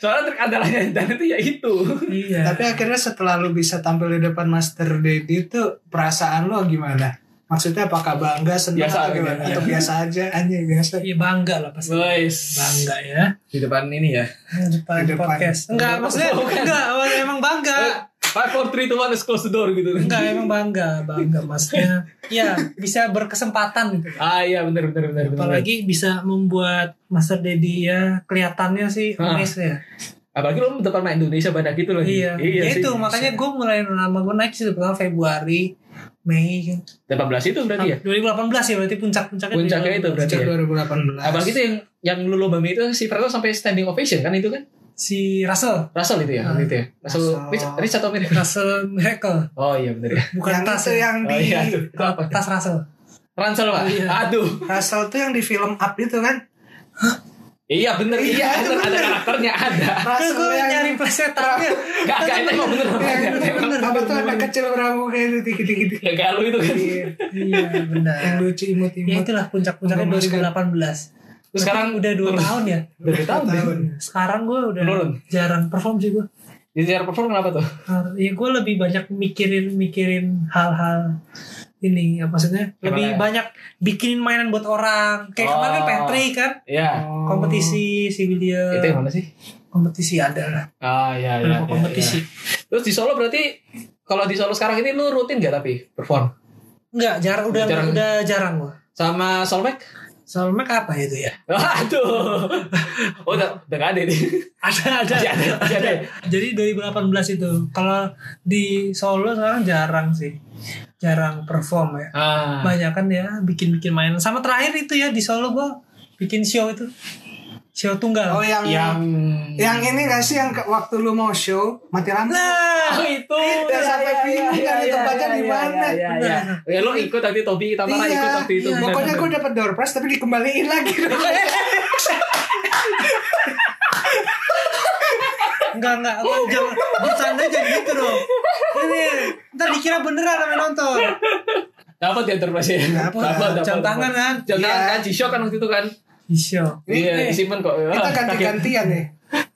[SPEAKER 1] Soalnya trik andalannya dan itu ya itu.
[SPEAKER 2] iya
[SPEAKER 3] Tapi akhirnya setelah lu bisa tampil di depan Master Dedi itu perasaan lu gimana? Maksudnya apakah bangga, senang
[SPEAKER 1] Biasa
[SPEAKER 3] atau
[SPEAKER 1] aja,
[SPEAKER 3] gimana?
[SPEAKER 1] iya.
[SPEAKER 3] Atau biasa aja, anjing biasa.
[SPEAKER 2] Iya, bangga lah pasti
[SPEAKER 1] Guys.
[SPEAKER 2] bangga ya
[SPEAKER 1] Di depan ini ya.
[SPEAKER 2] depan,
[SPEAKER 3] Di depan.
[SPEAKER 2] podcast enggak maksudnya enggak emang bangga
[SPEAKER 1] Eh, Five, four, three, two, one, let's close the door gitu.
[SPEAKER 2] enggak emang bangga bangga maksudnya ya bisa berkesempatan gitu
[SPEAKER 1] Ah iya benar benar benar benar.
[SPEAKER 2] apalagi bisa membuat Master Dedi ya kelihatannya sih
[SPEAKER 1] Hah.
[SPEAKER 2] omis ya
[SPEAKER 1] Apalagi lo depan main Indonesia pada gitu loh.
[SPEAKER 2] Iya,
[SPEAKER 1] iya
[SPEAKER 2] ya
[SPEAKER 1] sih.
[SPEAKER 2] itu makanya gue mulai nama gue naik sih pertama Februari, Mei, kan.
[SPEAKER 1] 18 itu berarti ya.
[SPEAKER 2] 2018 ya berarti puncak-puncaknya.
[SPEAKER 1] Puncaknya itu
[SPEAKER 2] 2018.
[SPEAKER 1] berarti.
[SPEAKER 3] Sejak
[SPEAKER 1] ya.
[SPEAKER 3] 2018.
[SPEAKER 1] Apalagi itu yang yang lu lomba itu si Prato sampai standing ovation kan itu kan?
[SPEAKER 2] Si Russell,
[SPEAKER 1] Russell itu ya,
[SPEAKER 2] Hmm.
[SPEAKER 1] waktu itu ya. Russell,
[SPEAKER 3] Russell.
[SPEAKER 1] Rich, Rich atau Mir?
[SPEAKER 2] Russell Miracle,
[SPEAKER 1] Oh iya benar ya.
[SPEAKER 2] bukan
[SPEAKER 3] yang
[SPEAKER 2] tas
[SPEAKER 3] itu
[SPEAKER 2] ya.
[SPEAKER 3] yang di
[SPEAKER 1] Oh iya aduh. Itu apa?
[SPEAKER 2] Tas Russell.
[SPEAKER 1] Ransel Pak.
[SPEAKER 2] Iya.
[SPEAKER 1] Aduh.
[SPEAKER 3] Russell tuh yang di film Up itu kan?
[SPEAKER 1] Iya bener iya,
[SPEAKER 3] Iya,
[SPEAKER 1] bener. ada karakternya ada.
[SPEAKER 2] Terus gue
[SPEAKER 3] Russell yang Iya,
[SPEAKER 2] nyari plesetannya.
[SPEAKER 1] Gak gak itu emang bener ya?
[SPEAKER 3] yang
[SPEAKER 1] namanya. Emang.
[SPEAKER 3] apa tuh anak kecil beramu kayak itu dikit-dikit.
[SPEAKER 1] Ya kayak lu itu kan.
[SPEAKER 2] iya
[SPEAKER 3] Yang
[SPEAKER 2] benar.
[SPEAKER 3] lucu
[SPEAKER 2] Ya
[SPEAKER 3] imut-imut.
[SPEAKER 2] itulah puncak-puncaknya
[SPEAKER 3] Memuaskan.
[SPEAKER 2] 2018.
[SPEAKER 1] Terus kan. sekarang
[SPEAKER 2] udah 2
[SPEAKER 1] turun.
[SPEAKER 2] tahun ya.
[SPEAKER 1] Udah dua tahun.
[SPEAKER 3] Tahun.
[SPEAKER 2] Sekarang gue udah
[SPEAKER 1] Menurun.
[SPEAKER 2] jarang perform sih gue.
[SPEAKER 1] Jadi cara perform kenapa tuh?
[SPEAKER 2] Har- ya gue lebih banyak mikirin mikirin hal-hal ini ya maksudnya
[SPEAKER 1] Gimana
[SPEAKER 2] lebih
[SPEAKER 1] ya?
[SPEAKER 2] banyak bikinin mainan buat orang kayak kemarin kan
[SPEAKER 1] Oh.
[SPEAKER 2] Patrick kan
[SPEAKER 1] Iya.
[SPEAKER 3] Oh.
[SPEAKER 2] kompetisi si
[SPEAKER 3] Eh,
[SPEAKER 2] William
[SPEAKER 1] Itu yang mana sih?
[SPEAKER 2] kompetisi ada lah
[SPEAKER 1] Ah iya iya.
[SPEAKER 2] Beberapa
[SPEAKER 1] iya,
[SPEAKER 2] kompetisi
[SPEAKER 1] iya. Terus di Solo berarti kalau di Solo sekarang ini lu rutin gak tapi perform?
[SPEAKER 2] enggak jarang udah
[SPEAKER 1] Jarang.
[SPEAKER 2] udah jarang gue
[SPEAKER 1] Sama Solveig?
[SPEAKER 2] soalnya apa itu ya
[SPEAKER 1] Aduh. Oh, udah, udah gak ada nih.
[SPEAKER 2] ada ada,
[SPEAKER 1] Masih ada, masih ada.
[SPEAKER 2] jadi 2018 itu kalau di Solo sekarang jarang sih jarang perform ya
[SPEAKER 1] Ah.
[SPEAKER 2] banyak kan ya bikin-bikin mainan sama terakhir itu ya di Solo gue bikin show itu show tunggal
[SPEAKER 3] Oh yang
[SPEAKER 1] Yang
[SPEAKER 3] yang ini gak sih yang ke- waktu lu mau show mati lampu?
[SPEAKER 2] Nah,
[SPEAKER 1] Oh, itu.
[SPEAKER 3] Udah sampai bingung kan itu tempatnya di mana.
[SPEAKER 1] Ya, ya. ya lo ikut tadi Tobi Tamara
[SPEAKER 3] Iya,
[SPEAKER 1] Nah, ikut waktu itu.
[SPEAKER 3] iya. Pokoknya gue dapet door prize tapi dikembaliin lagi.
[SPEAKER 2] enggak enggak, aku jangan bercanda jadi gitu dong. Ini ntar dikira beneran sama yang nonton.
[SPEAKER 1] dapat ya terpaksa.
[SPEAKER 3] Dapat.
[SPEAKER 2] Jam tangan kan?
[SPEAKER 1] Jam
[SPEAKER 3] Iya.
[SPEAKER 1] tangan kan Jisho kan waktu itu kan.
[SPEAKER 2] Isyo.
[SPEAKER 3] Ini-
[SPEAKER 1] Iya,
[SPEAKER 3] ini.
[SPEAKER 1] disimpan kok. Wah,
[SPEAKER 3] Kita
[SPEAKER 1] kaget.
[SPEAKER 3] ganti-gantian nih.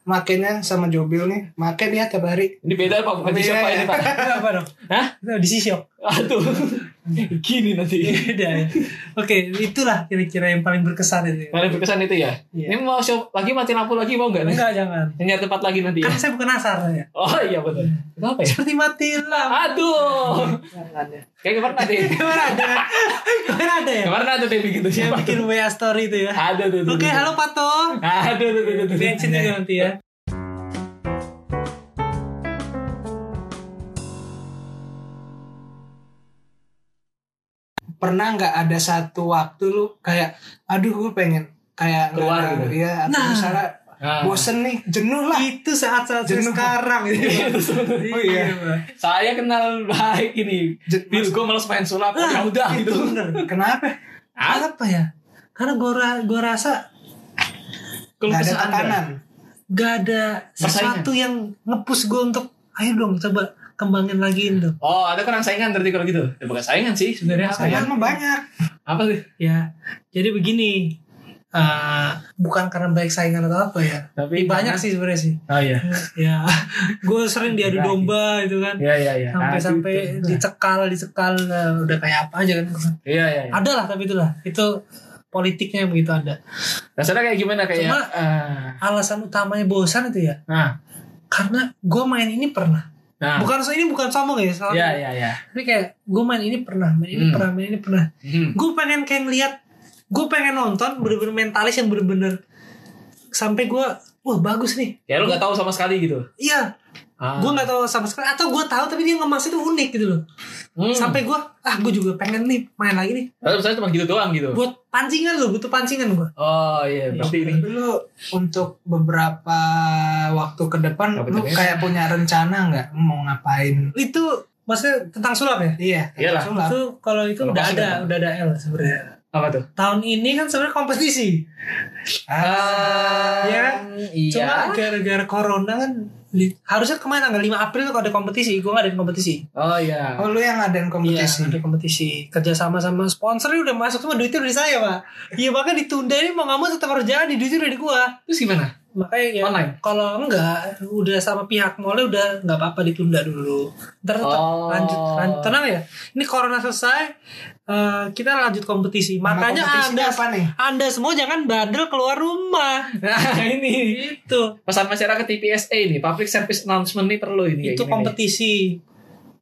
[SPEAKER 3] Makainya sama Jobil nih. Makai dia tiap hari.
[SPEAKER 1] Ini beda pak bukan Jisho
[SPEAKER 3] Iya,
[SPEAKER 1] pak ini
[SPEAKER 3] iya.
[SPEAKER 1] pak.
[SPEAKER 2] Apa dong?
[SPEAKER 1] Hah?
[SPEAKER 2] Itu di sisyo.
[SPEAKER 1] Aduh. Gini nanti.
[SPEAKER 2] Beda ya. Oke, itulah kira-kira yang paling berkesan itu.
[SPEAKER 1] Paling berkesan itu ya.
[SPEAKER 2] Iya.
[SPEAKER 1] Ini mau show lagi mati lampu lagi mau nggak nih?
[SPEAKER 2] Enggak, jangan.
[SPEAKER 1] Nyari tempat lagi nanti ya.
[SPEAKER 2] Kan saya bukan asar ya.
[SPEAKER 1] Oh iya betul. Kenapa ya?
[SPEAKER 2] Seperti mati lampu.
[SPEAKER 1] Aduh.
[SPEAKER 2] Jangan ya.
[SPEAKER 1] Kayak kemarin ada. ya.
[SPEAKER 2] Kemarin ada. Kemarin ada ya.
[SPEAKER 1] Kemarin ada tuh yang begitu
[SPEAKER 2] Yang
[SPEAKER 1] siapa?
[SPEAKER 2] bikin WA story itu ya.
[SPEAKER 1] Aduh tuh. tuh,
[SPEAKER 2] Oke,
[SPEAKER 1] tuh.
[SPEAKER 2] halo Pato.
[SPEAKER 1] Aduh tuh tuh tuh, tuh.
[SPEAKER 2] Bensin itu nanti ya.
[SPEAKER 3] Pernah nggak ada satu waktu lu kayak, aduh gue pengen kayak nggak
[SPEAKER 1] Keluar
[SPEAKER 3] ada-
[SPEAKER 1] gitu.
[SPEAKER 3] Iya, atau
[SPEAKER 2] Nah.
[SPEAKER 3] misalnya
[SPEAKER 1] Ah.
[SPEAKER 3] bosen nih, jenuh lah.
[SPEAKER 2] Itu saat-saat saya
[SPEAKER 3] Jenuh.
[SPEAKER 2] sekarang gitu.
[SPEAKER 3] Oh, iya.
[SPEAKER 2] Pak.
[SPEAKER 1] Saya kenal baik ini.
[SPEAKER 3] Je-
[SPEAKER 1] Bil, gue males main sulap.
[SPEAKER 2] Lah,
[SPEAKER 1] ya udah
[SPEAKER 2] Nah, itu
[SPEAKER 1] gitu.
[SPEAKER 2] bener.
[SPEAKER 3] Kenapa?
[SPEAKER 1] Ah,
[SPEAKER 2] apa ya karena gue gua rasa
[SPEAKER 1] keluh
[SPEAKER 3] Gak ada
[SPEAKER 1] kesah Anda.
[SPEAKER 3] tekanan.
[SPEAKER 2] gak ada sesuatu yang ngepus gue untuk ayo dong coba kembangin lagi dong
[SPEAKER 1] Oh, ada kurang saingan berarti kalau gitu. Ya, bukan saingan sih sebenarnya apa ya?
[SPEAKER 3] Sayang mah banyak.
[SPEAKER 1] Apa sih?
[SPEAKER 2] ya jadi begini eh, bukan karena baik saingan atau apa ya
[SPEAKER 1] Tapi
[SPEAKER 2] banyak
[SPEAKER 1] karena-
[SPEAKER 2] sih sebenarnya sih
[SPEAKER 1] Oh iya.
[SPEAKER 2] ya gue sering diadu domba gitu kan
[SPEAKER 1] Iya iya iya. Ah,
[SPEAKER 2] sampai-sampai
[SPEAKER 1] gitu.
[SPEAKER 2] dicekal dicekal eh, udah kayak apa aja kan
[SPEAKER 1] Iya iya. iya.
[SPEAKER 2] ada lah tapi itulah itu politiknya yang begitu ada
[SPEAKER 1] Rasanya Nah, kayak gimana kayak
[SPEAKER 2] Cuma-
[SPEAKER 1] ah,
[SPEAKER 2] alasan utamanya bosan itu ya
[SPEAKER 1] nah.
[SPEAKER 2] karena gue main ini pernah
[SPEAKER 1] Nah.
[SPEAKER 2] bukan ini bukan sombong ya soalnya
[SPEAKER 1] Iya iya iya.
[SPEAKER 2] tapi kayak gue main ini pernah main ini
[SPEAKER 1] Hmm.
[SPEAKER 2] pernah main ini pernah
[SPEAKER 1] Hmm.
[SPEAKER 2] gue pengen kayak ngeliat gue pengen nonton bener-bener mentalis yang bener-bener sampai gue wah bagus nih
[SPEAKER 1] Ya lu gak tahu sama sekali gitu.
[SPEAKER 2] iya
[SPEAKER 1] Ah.
[SPEAKER 2] Gue nggak tahu sama sekali atau gue tahu tapi dia ngemas itu unik gitu loh.
[SPEAKER 1] Hmm.
[SPEAKER 2] Sampai gue ah gue juga pengen nih main lagi nih.
[SPEAKER 1] Lalu misalnya cuma gitu doang gitu.
[SPEAKER 2] Buat pancingan loh butuh pancingan gue.
[SPEAKER 1] Oh iya, berarti ini.
[SPEAKER 3] Tapi lu untuk beberapa waktu ke depan
[SPEAKER 1] Apa
[SPEAKER 3] lu
[SPEAKER 1] tuh, Des?
[SPEAKER 3] kayak punya rencana nggak mau ngapain?
[SPEAKER 2] Itu maksudnya tentang sulap ya?
[SPEAKER 3] Iya,
[SPEAKER 1] Iyalah.
[SPEAKER 3] sulap.
[SPEAKER 2] Itu kalau itu
[SPEAKER 1] Kalau Iya.
[SPEAKER 2] udah
[SPEAKER 1] pasti
[SPEAKER 2] ada,
[SPEAKER 1] ada.
[SPEAKER 2] udah ada L sebenarnya.
[SPEAKER 1] Apa tuh?
[SPEAKER 2] Tahun ini kan sebenarnya kompetisi.
[SPEAKER 3] Ah,
[SPEAKER 2] Iya.
[SPEAKER 1] iya.
[SPEAKER 2] Cuma gara-gara corona kan di- harusnya kemarin tanggal 5 April tuh kalau ada kompetisi, gue gak ada kompetisi.
[SPEAKER 1] Oh iya.
[SPEAKER 3] Oh lu yang ngadain kompetisi.
[SPEAKER 2] Iya, ada kompetisi kerjasama sama sponsor udah masuk semua duitnya udah di saya pak. Iya bahkan ditunda ini mau nggak mau tetap harus jalan di duitnya udah di gua.
[SPEAKER 1] Terus gimana?
[SPEAKER 2] Makanya ya,
[SPEAKER 1] Online?
[SPEAKER 2] kalau enggak udah sama pihak mallnya udah nggak apa-apa ditunda dulu. Ntar tetap
[SPEAKER 1] Oh.
[SPEAKER 2] lanjut, lanjut. Tenang ya. Ini corona selesai eh, kita lanjut kompetisi.
[SPEAKER 3] Nama
[SPEAKER 2] Makanya
[SPEAKER 3] kompetisinya
[SPEAKER 2] anda
[SPEAKER 3] apa nih?
[SPEAKER 2] anda semua jangan bandel keluar rumah.
[SPEAKER 1] Nah ini
[SPEAKER 2] Itu
[SPEAKER 1] pesan masyarakat TPSA ini, public service announcement ini perlu ini. kayak
[SPEAKER 2] itu
[SPEAKER 1] gini nih.
[SPEAKER 2] kompetisi.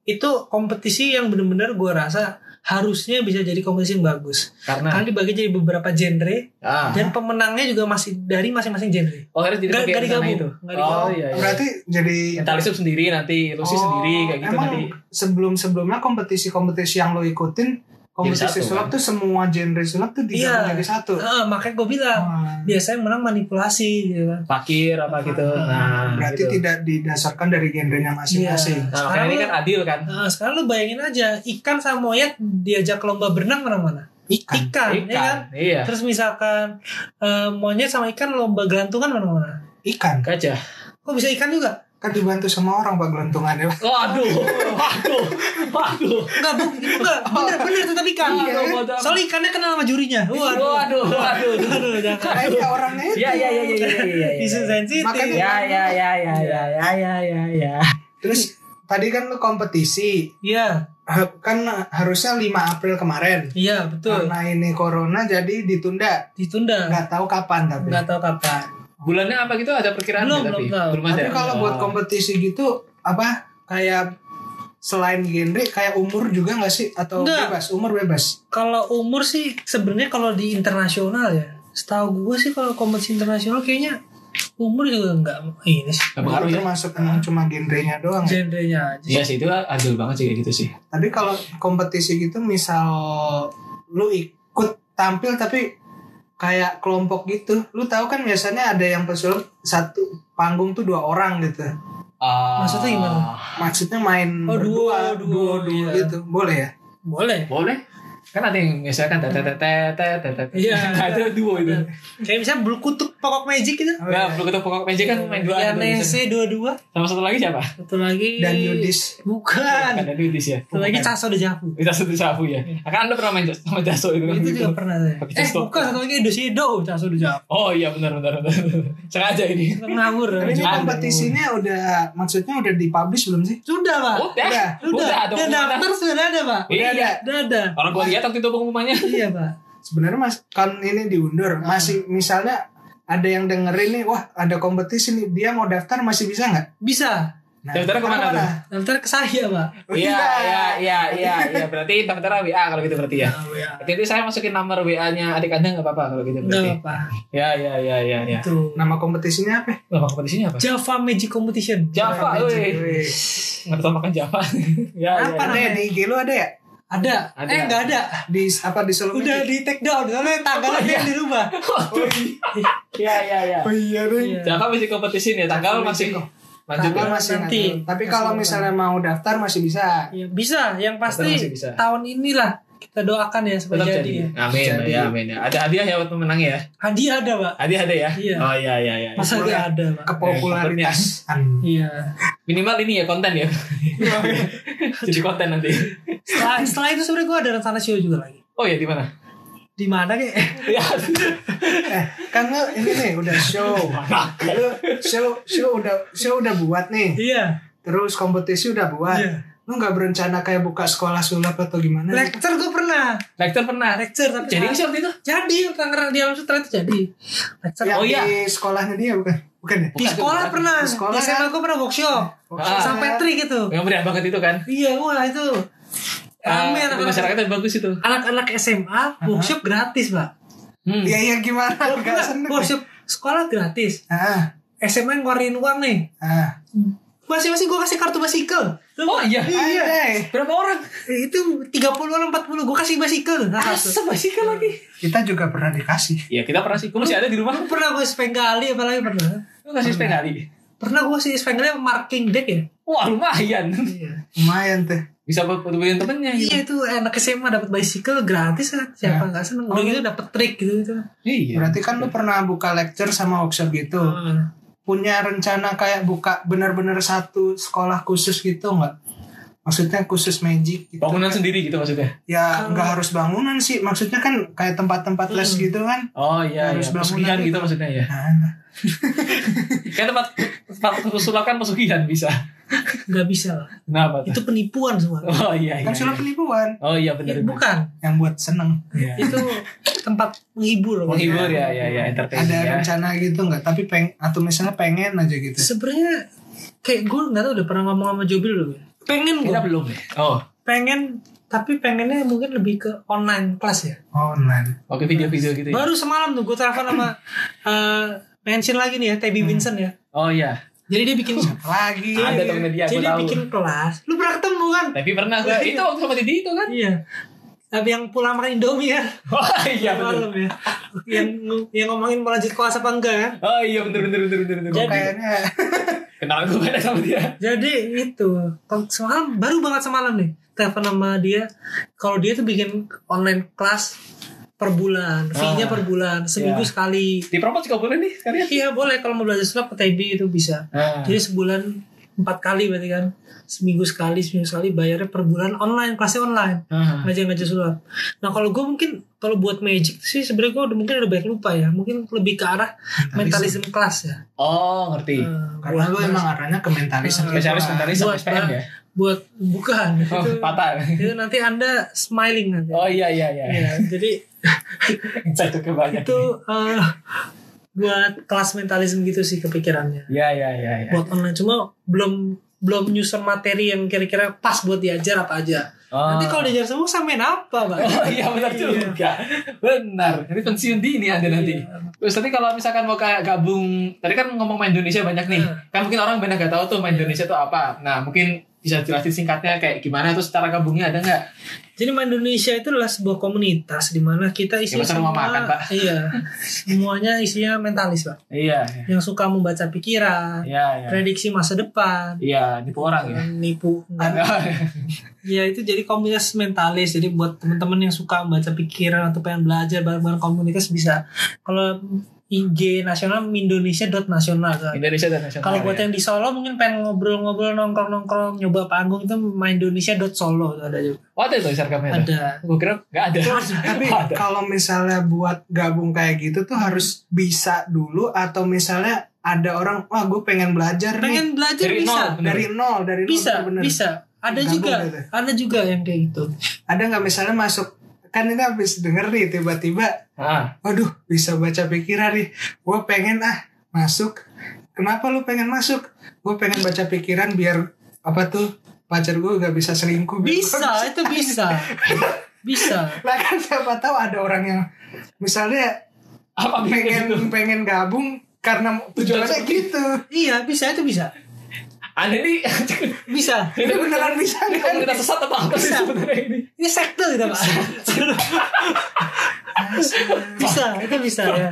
[SPEAKER 2] Itu kompetisi yang benar-benar gua rasa harusnya bisa jadi kompetisi yang bagus.
[SPEAKER 1] Karena
[SPEAKER 2] Karena dibagi jadi beberapa genre
[SPEAKER 1] ah.
[SPEAKER 2] dan pemenangnya juga masih dari masing-masing genre.
[SPEAKER 1] Oh, akhirnya jadi
[SPEAKER 2] Nggak-
[SPEAKER 1] pakai
[SPEAKER 2] nggak
[SPEAKER 1] rencana
[SPEAKER 2] digabung.
[SPEAKER 1] itu.
[SPEAKER 2] Nggak
[SPEAKER 1] Oh
[SPEAKER 2] digabung.
[SPEAKER 1] iya. iya.
[SPEAKER 3] Berarti jadi
[SPEAKER 1] mentalism sendiri nanti, ilusi
[SPEAKER 3] Oh,
[SPEAKER 1] sendiri kayak gitu
[SPEAKER 3] emang
[SPEAKER 1] nanti.
[SPEAKER 3] Sebelum-sebelumnya kompetisi-kompetisi yang lu ikutin Kompetisi
[SPEAKER 1] satu, kan?
[SPEAKER 3] sulap tuh semua genre sulap tuh digabung
[SPEAKER 2] Iya.
[SPEAKER 3] jadi satu.
[SPEAKER 2] Heeh, makanya gue
[SPEAKER 1] Iya.
[SPEAKER 2] bilang
[SPEAKER 3] Wah,
[SPEAKER 2] biasanya menang manipulasi gitu kan.
[SPEAKER 1] Fakir apa gitu.
[SPEAKER 2] Ah,
[SPEAKER 1] Nah,
[SPEAKER 3] Berarti
[SPEAKER 1] gitu.
[SPEAKER 3] tidak didasarkan dari genrenya masing-masing.
[SPEAKER 1] Nah, makanya ini kan adil kan.
[SPEAKER 2] Nah, sekarang lu bayangin aja ikan sama monyet diajak lomba berenang mana mana. Ikan,
[SPEAKER 3] Ikan.
[SPEAKER 2] ya kan?
[SPEAKER 1] Ikan. Iya.
[SPEAKER 2] Terus misalkan eh, monyet sama ikan lomba gelantungan mana mana.
[SPEAKER 3] Ikan
[SPEAKER 1] Gajah.
[SPEAKER 2] Kok bisa ikan juga?
[SPEAKER 3] kan dibantu sama orang pak gelantungannya.
[SPEAKER 1] Waduh. Waduh. Waduh.
[SPEAKER 2] Enggak, bu, itu enggak. Bener, bener tetap ikan.
[SPEAKER 1] Iya, kan?
[SPEAKER 2] Soalnya ikannya kenal sama jurinya. Waduh,
[SPEAKER 1] Waduh. Waduh.
[SPEAKER 2] waduh, jangan.
[SPEAKER 3] Kayaknya orangnya itu.
[SPEAKER 1] Ya ya ya ya ya ya.
[SPEAKER 2] Isu sensitif.
[SPEAKER 3] Makanya-
[SPEAKER 1] Ya ya ya ya ya ya ya ya ya.
[SPEAKER 3] Terus tadi kan lu kompetisi
[SPEAKER 2] Iya,
[SPEAKER 3] Ha- kan harusnya 5 April kemarin.
[SPEAKER 2] iya betul.
[SPEAKER 3] Karena ini corona jadi ditunda.
[SPEAKER 2] Ditunda.
[SPEAKER 3] Nggak tahu kapan tapi.
[SPEAKER 2] Nggak tahu kapan.
[SPEAKER 1] Bulannya apa gitu ada perkiraan
[SPEAKER 2] Belum,
[SPEAKER 1] nggak tapi?
[SPEAKER 2] belum tahu.
[SPEAKER 1] ada. Oh.
[SPEAKER 3] Tapi kalau buat kompetisi gitu apa kayak selain genre kayak umur juga nggak sih atau
[SPEAKER 2] Nggak.
[SPEAKER 3] bebas umur bebas
[SPEAKER 2] Kalau umur sih sebenarnya kalau di internasional ya, setahu gue sih kalau kompetisi internasional kayaknya umur juga nggak ini sih
[SPEAKER 1] Nggak pengaruh ya.
[SPEAKER 3] termasuk emang cuma genrenya doang ya.
[SPEAKER 2] genrenya aja.
[SPEAKER 1] Iya sih itu adil banget sih kayak gitu sih.
[SPEAKER 3] tapi kalau kompetisi gitu misal lu ikut tampil tapi kayak kelompok gitu lu tahu kan biasanya ada yang pesulap satu panggung tuh dua orang gitu
[SPEAKER 1] Ah.
[SPEAKER 2] Maksudnya gimana?
[SPEAKER 3] maksudnya main
[SPEAKER 2] Oh,
[SPEAKER 3] berdua
[SPEAKER 2] duo, duo,
[SPEAKER 3] duo-duo
[SPEAKER 2] iya.
[SPEAKER 3] gitu boleh ya
[SPEAKER 2] Boleh.
[SPEAKER 1] Boleh. Kan ada yang misalkan tetet tetet tetet.
[SPEAKER 2] Iya.
[SPEAKER 1] Nah, itu duo itu.
[SPEAKER 2] Kayak misalnya bulu kutuk pokok magic gitu.
[SPEAKER 1] Nah, belum ketemu pokok magic kan main dua.
[SPEAKER 2] Ya Nese dua-dua.
[SPEAKER 1] Sama satu lagi siapa?
[SPEAKER 2] Satu lagi.
[SPEAKER 3] dan judis
[SPEAKER 2] Bukan.
[SPEAKER 1] Ada Dudis ya.
[SPEAKER 2] Satu lagi Caso de Javu.
[SPEAKER 1] Kita satu sapu ya. Akan Anda pernah main sama Jaso itu kan?
[SPEAKER 2] Itu juga pernah saya.
[SPEAKER 1] Pakai
[SPEAKER 2] Eh
[SPEAKER 1] stop.
[SPEAKER 2] bukan satu lagi Edosido Caso de Javu.
[SPEAKER 1] Oh iya benar benar benar. Sengaja ini.
[SPEAKER 2] Ngawur.
[SPEAKER 3] tapi ini
[SPEAKER 1] Aduh.
[SPEAKER 3] kompetisinya udah maksudnya udah dipublish belum sih
[SPEAKER 2] Sudah pak.
[SPEAKER 3] Udah.
[SPEAKER 1] Oh, Udah.
[SPEAKER 2] Udah.
[SPEAKER 1] Udah.
[SPEAKER 2] Dan
[SPEAKER 1] Udah.
[SPEAKER 2] daftar sudah ada pak.
[SPEAKER 1] Iya.
[SPEAKER 3] ada.
[SPEAKER 2] Sudah ada.
[SPEAKER 1] Orang gua lihat waktu itu pengumumannya.
[SPEAKER 2] Iya pak.
[SPEAKER 3] sebenarnya mas kan ini diundur masih misalnya ada yang dengerin nih wah ada kompetisi nih dia mau daftar masih bisa nggak
[SPEAKER 2] Bisa.
[SPEAKER 3] nah,
[SPEAKER 1] Daftarnya kemana tuh?
[SPEAKER 2] Daftar ke saya, Pak.
[SPEAKER 3] Oh,
[SPEAKER 1] Iya, iya,
[SPEAKER 3] iya.
[SPEAKER 1] iya, iya, iya. Berarti daftar WA kalau gitu berarti ya. Berarti itu saya masukin nomor WA-nya adik Anda enggak apa-apa kalau gitu
[SPEAKER 2] Enggak
[SPEAKER 1] berarti.
[SPEAKER 2] apa-apa.
[SPEAKER 1] Ya, ya, ya, ya, ya.
[SPEAKER 2] Tuh.
[SPEAKER 3] nama kompetisinya apa
[SPEAKER 1] Nama kompetisinya apa?
[SPEAKER 2] Java Magic Competition.
[SPEAKER 1] Java, weh.
[SPEAKER 3] Wih.
[SPEAKER 1] Ngerti makan Java. ya, ya,
[SPEAKER 2] Apa
[SPEAKER 1] ya.
[SPEAKER 3] ada ya di IG lu ada ya
[SPEAKER 2] Ada.
[SPEAKER 1] Ada.
[SPEAKER 2] Eh, enggak ada.
[SPEAKER 3] di apa di Solo
[SPEAKER 2] Udah
[SPEAKER 3] Meeting?
[SPEAKER 2] di take down. Soalnya tanggalnya
[SPEAKER 1] Oh,
[SPEAKER 2] dia yang dirubah.
[SPEAKER 1] Waduh. Ya, ya, ya.
[SPEAKER 3] oh iya deh
[SPEAKER 2] Iya.
[SPEAKER 1] Java masih kompetisi nih, tanggal masih lanjut
[SPEAKER 3] Tanggal
[SPEAKER 1] ya.
[SPEAKER 3] masih
[SPEAKER 2] Nanti.
[SPEAKER 3] nanti. Tapi kalau misalnya mau daftar masih bisa.
[SPEAKER 2] Ya, bisa, yang pasti
[SPEAKER 1] masih bisa.
[SPEAKER 2] tahun inilah kita doakan ya
[SPEAKER 1] Tetap
[SPEAKER 2] supaya
[SPEAKER 1] jadi.
[SPEAKER 2] jadi.
[SPEAKER 1] Amin,
[SPEAKER 3] Jadi.
[SPEAKER 1] ya, amin. ya. Ada hadiah ya buat pemenang ya.
[SPEAKER 2] Hadiah ada, Pak.
[SPEAKER 1] Hadiah ada ya?
[SPEAKER 2] Iya.
[SPEAKER 1] Oh iya iya iya.
[SPEAKER 2] Masa
[SPEAKER 3] Boleh.
[SPEAKER 2] enggak ada, Pak?
[SPEAKER 3] Kepopularitas.
[SPEAKER 2] Iya.
[SPEAKER 1] Minimal ini ya konten ya. Jadi konten nanti.
[SPEAKER 2] Setelah, setelah itu sebenarnya gue ada rencana show juga lagi.
[SPEAKER 1] Oh ya di mana?
[SPEAKER 2] Di mana kayak?
[SPEAKER 1] Ya.
[SPEAKER 3] eh, kan lu ini nih udah show.
[SPEAKER 1] Nah,
[SPEAKER 3] Lu show show udah show udah buat nih.
[SPEAKER 2] Iya.
[SPEAKER 3] Terus kompetisi udah buat.
[SPEAKER 2] Iya.
[SPEAKER 3] Lu nggak berencana kayak buka sekolah sulap atau gimana?
[SPEAKER 2] Lecture gue pernah.
[SPEAKER 1] Lektor pernah.
[SPEAKER 2] Lecture tapi
[SPEAKER 1] Jadi
[SPEAKER 2] salah.
[SPEAKER 1] sih waktu itu.
[SPEAKER 2] jadi Tangerang di Alam Sutra itu jadi Lecture.
[SPEAKER 3] Yang
[SPEAKER 1] Oh, iya.
[SPEAKER 3] di sekolahnya dia bukan? Bukan ya?
[SPEAKER 2] di sekolah pernah
[SPEAKER 3] Di sekolah
[SPEAKER 2] di SMA
[SPEAKER 3] kan?
[SPEAKER 2] gue pernah workshop
[SPEAKER 1] Ah.
[SPEAKER 2] Sang Petri gitu
[SPEAKER 1] Yang meriah banget itu kan.
[SPEAKER 2] iya wah itu
[SPEAKER 1] Ah,
[SPEAKER 2] rame
[SPEAKER 1] itu
[SPEAKER 2] anak-anak
[SPEAKER 1] masyarakatnya bagus itu.
[SPEAKER 2] anak-anak SMA workshop gratis pak
[SPEAKER 1] Hmm.
[SPEAKER 3] Iya iya gimana? Gak
[SPEAKER 2] Enggak,
[SPEAKER 3] seneng.
[SPEAKER 2] workshop sekolah gratis
[SPEAKER 3] Ah,
[SPEAKER 2] SMA ngeluarin uang nih
[SPEAKER 3] ah.
[SPEAKER 2] masing-masing gue kasih kartu basikel
[SPEAKER 1] Oh iya.
[SPEAKER 3] Anjay.
[SPEAKER 1] Berapa orang?
[SPEAKER 2] itu 30 orang 40 gue kasih basikel nah, satu.
[SPEAKER 1] Asem basikan lagi.
[SPEAKER 3] Kita juga pernah dikasih.
[SPEAKER 1] Ya kita pernah sih. Gue masih ada di rumah.
[SPEAKER 2] pernah gue speng kali apalagi pernah
[SPEAKER 1] Gue kasih spek kali.
[SPEAKER 2] pernah gue sih speng kali sama marking deck ya
[SPEAKER 1] Wah lumayan.
[SPEAKER 2] iya
[SPEAKER 3] Lumayan tuh.
[SPEAKER 1] Bisa buat buat temennya. gitu.
[SPEAKER 2] Iya itu anak SMA dapat bicycle gratis kan siapa nggak seneng udah gitu dapat trik gitu gitu.
[SPEAKER 1] Iya.
[SPEAKER 3] Berarti kan lu pernah buka lecture sama workshop gitu.
[SPEAKER 2] Hmm.
[SPEAKER 3] Punya rencana kayak buka benar-benar satu sekolah khusus gitu nggak? Maksudnya khusus magic gitu.
[SPEAKER 1] Bangunan sendiri gitu maksudnya.
[SPEAKER 3] Ya nggak harus bangunan sih. Maksudnya kan kayak tempat-tempat les gitu kan.
[SPEAKER 1] Oh iya.
[SPEAKER 3] Harus
[SPEAKER 1] iya.
[SPEAKER 3] bangunan
[SPEAKER 1] Pesugihan
[SPEAKER 3] gitu.
[SPEAKER 1] gitu maksudnya ya.
[SPEAKER 3] Nah,
[SPEAKER 1] Kan tempat tempat sulap kan pesugihan bisa.
[SPEAKER 2] nggak bisa lah
[SPEAKER 1] Kenapa? tuh?
[SPEAKER 2] itu penipuan semua
[SPEAKER 1] Oh iya. iya,
[SPEAKER 3] kan sulap
[SPEAKER 1] iya.
[SPEAKER 3] penipuan
[SPEAKER 1] Oh
[SPEAKER 2] Ya,
[SPEAKER 1] iya benar. benar.
[SPEAKER 2] bukan
[SPEAKER 3] yang buat seneng.
[SPEAKER 1] Iya.
[SPEAKER 2] itu tempat menghibur
[SPEAKER 1] Menghibur ya ya ya entertain
[SPEAKER 3] Ada
[SPEAKER 1] ya.
[SPEAKER 3] rencana gitu nggak? Tapi peng atau misalnya pengen aja gitu.
[SPEAKER 2] sebenarnya kayak gue nggak tau udah pernah ngomong sama Jobil belum ya? pengen gue
[SPEAKER 1] Kita belum. Oh.
[SPEAKER 2] pengen tapi pengennya mungkin lebih ke online class ya
[SPEAKER 3] Oh, Online.
[SPEAKER 1] Oke video-video gitu ya.
[SPEAKER 2] baru semalam tuh gue telepon sama eh, mention lagi nih ya Tebi Vincent ya
[SPEAKER 1] Oh iya.
[SPEAKER 2] jadi dia bikin Iya,
[SPEAKER 3] Siapa lagi?
[SPEAKER 1] Ada temen dia
[SPEAKER 2] jadi
[SPEAKER 1] gue
[SPEAKER 2] dia
[SPEAKER 1] tahu.
[SPEAKER 2] bikin kelas lu pernah ketemu kan
[SPEAKER 1] Tapi pernah gue itu waktu sama Didi itu kan.
[SPEAKER 2] Iya. Tapi yang pulang makan Indomie ya.
[SPEAKER 1] Oh iya benar.
[SPEAKER 2] Malam ya. Yang yang ngomongin mau lanjut kelas apa enggak ya.
[SPEAKER 1] Oh iya benar benar benar benar benar.
[SPEAKER 2] Jadi-
[SPEAKER 3] Kayaknya
[SPEAKER 1] Kenal gue kan sama dia.
[SPEAKER 2] Jadi itu Tau- semalam baru banget semalam nih telepon sama dia. Kalau dia tuh bikin online kelas per bulan, fee-nya per bulan, seminggu
[SPEAKER 1] Iya.
[SPEAKER 2] sekali.
[SPEAKER 1] Di promote juga boleh nih sekalian.
[SPEAKER 2] Iya boleh kalau mau belajar sulap ke TB itu bisa.
[SPEAKER 1] Ah.
[SPEAKER 2] Jadi sebulan empat kali berarti kan seminggu sekali seminggu sekali bayarnya per bulan online kelasnya online
[SPEAKER 1] Ah.
[SPEAKER 2] ngajar-ngajar sulap. Nah kalau gue mungkin kalau buat magic sih sebenarnya gue udah mungkin udah banyak lupa ya, mungkin lebih ke arah
[SPEAKER 1] Nah,
[SPEAKER 2] mentalisme kelas ya.
[SPEAKER 1] Oh ngerti.
[SPEAKER 2] Eh,
[SPEAKER 3] Karena lu
[SPEAKER 2] buat,
[SPEAKER 3] emang arahnya ke mentalisme.
[SPEAKER 1] Spesialis
[SPEAKER 3] Wah.
[SPEAKER 1] mentalis sama
[SPEAKER 2] Buat-
[SPEAKER 1] SPM ya.
[SPEAKER 2] buat bukan
[SPEAKER 1] Oh
[SPEAKER 2] itu,
[SPEAKER 1] patah.
[SPEAKER 2] itu nanti anda smiling nanti.
[SPEAKER 1] Oh iya iya iya.
[SPEAKER 2] Ya, jadi
[SPEAKER 1] Satu kebanyakan.
[SPEAKER 2] itu eh, buat kelas mentalisme gitu sih kepikirannya.
[SPEAKER 1] Iya iya iya. iya.
[SPEAKER 2] Buat online cuma belum belum nyusun materi yang kira-kira pas buat diajar apa aja.
[SPEAKER 1] Oh.
[SPEAKER 2] Nanti kalau diajar semua samain apa, Bang?
[SPEAKER 1] Oh iya benar juga. Benar. Jadi pensiun dini Anda nanti. Terus nanti kalau misalkan mau kayak gabung, tadi kan ngomong main Indonesia banyak nih. Kan mungkin orang banyak gak tahu tuh main Indonesia tuh apa. Nah, mungkin bisa jelasin singkatnya kayak gimana terus cara gabungnya ada nggak?
[SPEAKER 2] Jadi Main Indonesia itu adalah sebuah komunitas di mana kita
[SPEAKER 1] Ya,
[SPEAKER 2] isinya
[SPEAKER 1] masa rumah makan, Pak?
[SPEAKER 2] Iya. Semuanya isinya mentalis, Pak.
[SPEAKER 1] Iya. iya.
[SPEAKER 2] Yang suka membaca pikiran,
[SPEAKER 1] Iya, iya.
[SPEAKER 2] prediksi masa depan,
[SPEAKER 1] Iya, nipu orang ya.
[SPEAKER 2] nipu. Enggak. Ya itu jadi komunitas mentalis. Jadi buat teman-teman yang suka membaca pikiran atau pengen belajar bareng-bareng komunitas bisa. Kalau IG nasional Indonesia.nasional kan.
[SPEAKER 1] Indonesia dan nasional.
[SPEAKER 2] Kalau buat
[SPEAKER 1] ya.
[SPEAKER 2] yang di Solo mungkin pengen ngobrol-ngobrol nongkrong-nongkrong nyoba panggung itu maindonesia.solo tuh ada juga.
[SPEAKER 1] Oh, ada itu serkamnya.
[SPEAKER 2] Ada.
[SPEAKER 1] Gue kira nggak ada.
[SPEAKER 3] Tapi
[SPEAKER 1] Ada.
[SPEAKER 3] kalau misalnya buat gabung kayak gitu tuh harus bisa dulu atau misalnya ada orang wah gue pengen belajar nih
[SPEAKER 2] Pengen belajar
[SPEAKER 1] Dari
[SPEAKER 2] bisa.
[SPEAKER 1] nol, bener.
[SPEAKER 3] dari nol dari nol
[SPEAKER 2] bisa
[SPEAKER 3] bener-bener.
[SPEAKER 2] bisa ada
[SPEAKER 3] Gabung
[SPEAKER 2] juga
[SPEAKER 3] gitu.
[SPEAKER 2] ada juga yang kayak gitu
[SPEAKER 3] Ada nggak misalnya masuk kan ini habis denger nih tiba-tiba
[SPEAKER 1] Ah.
[SPEAKER 3] waduh bisa baca pikiran nih gue pengen ah masuk kenapa lu pengen masuk gue pengen baca pikiran biar apa tuh pacar gue gak bisa selingkuh biar gua
[SPEAKER 2] bisa itu bisa bisa
[SPEAKER 3] lah kan siapa tahu ada orang yang misalnya
[SPEAKER 1] Apa
[SPEAKER 3] pengen
[SPEAKER 1] pengen
[SPEAKER 3] pengen gabung karena tujuannya
[SPEAKER 1] seperti-
[SPEAKER 3] gitu
[SPEAKER 2] iya bisa itu bisa
[SPEAKER 1] Anda ini
[SPEAKER 2] bisa
[SPEAKER 3] ini beneran bisa
[SPEAKER 1] ini
[SPEAKER 3] kan
[SPEAKER 1] komunitas sesat apa apa sih sebenarnya ini?
[SPEAKER 2] ini sekte gitu pak bisa itu bisa ya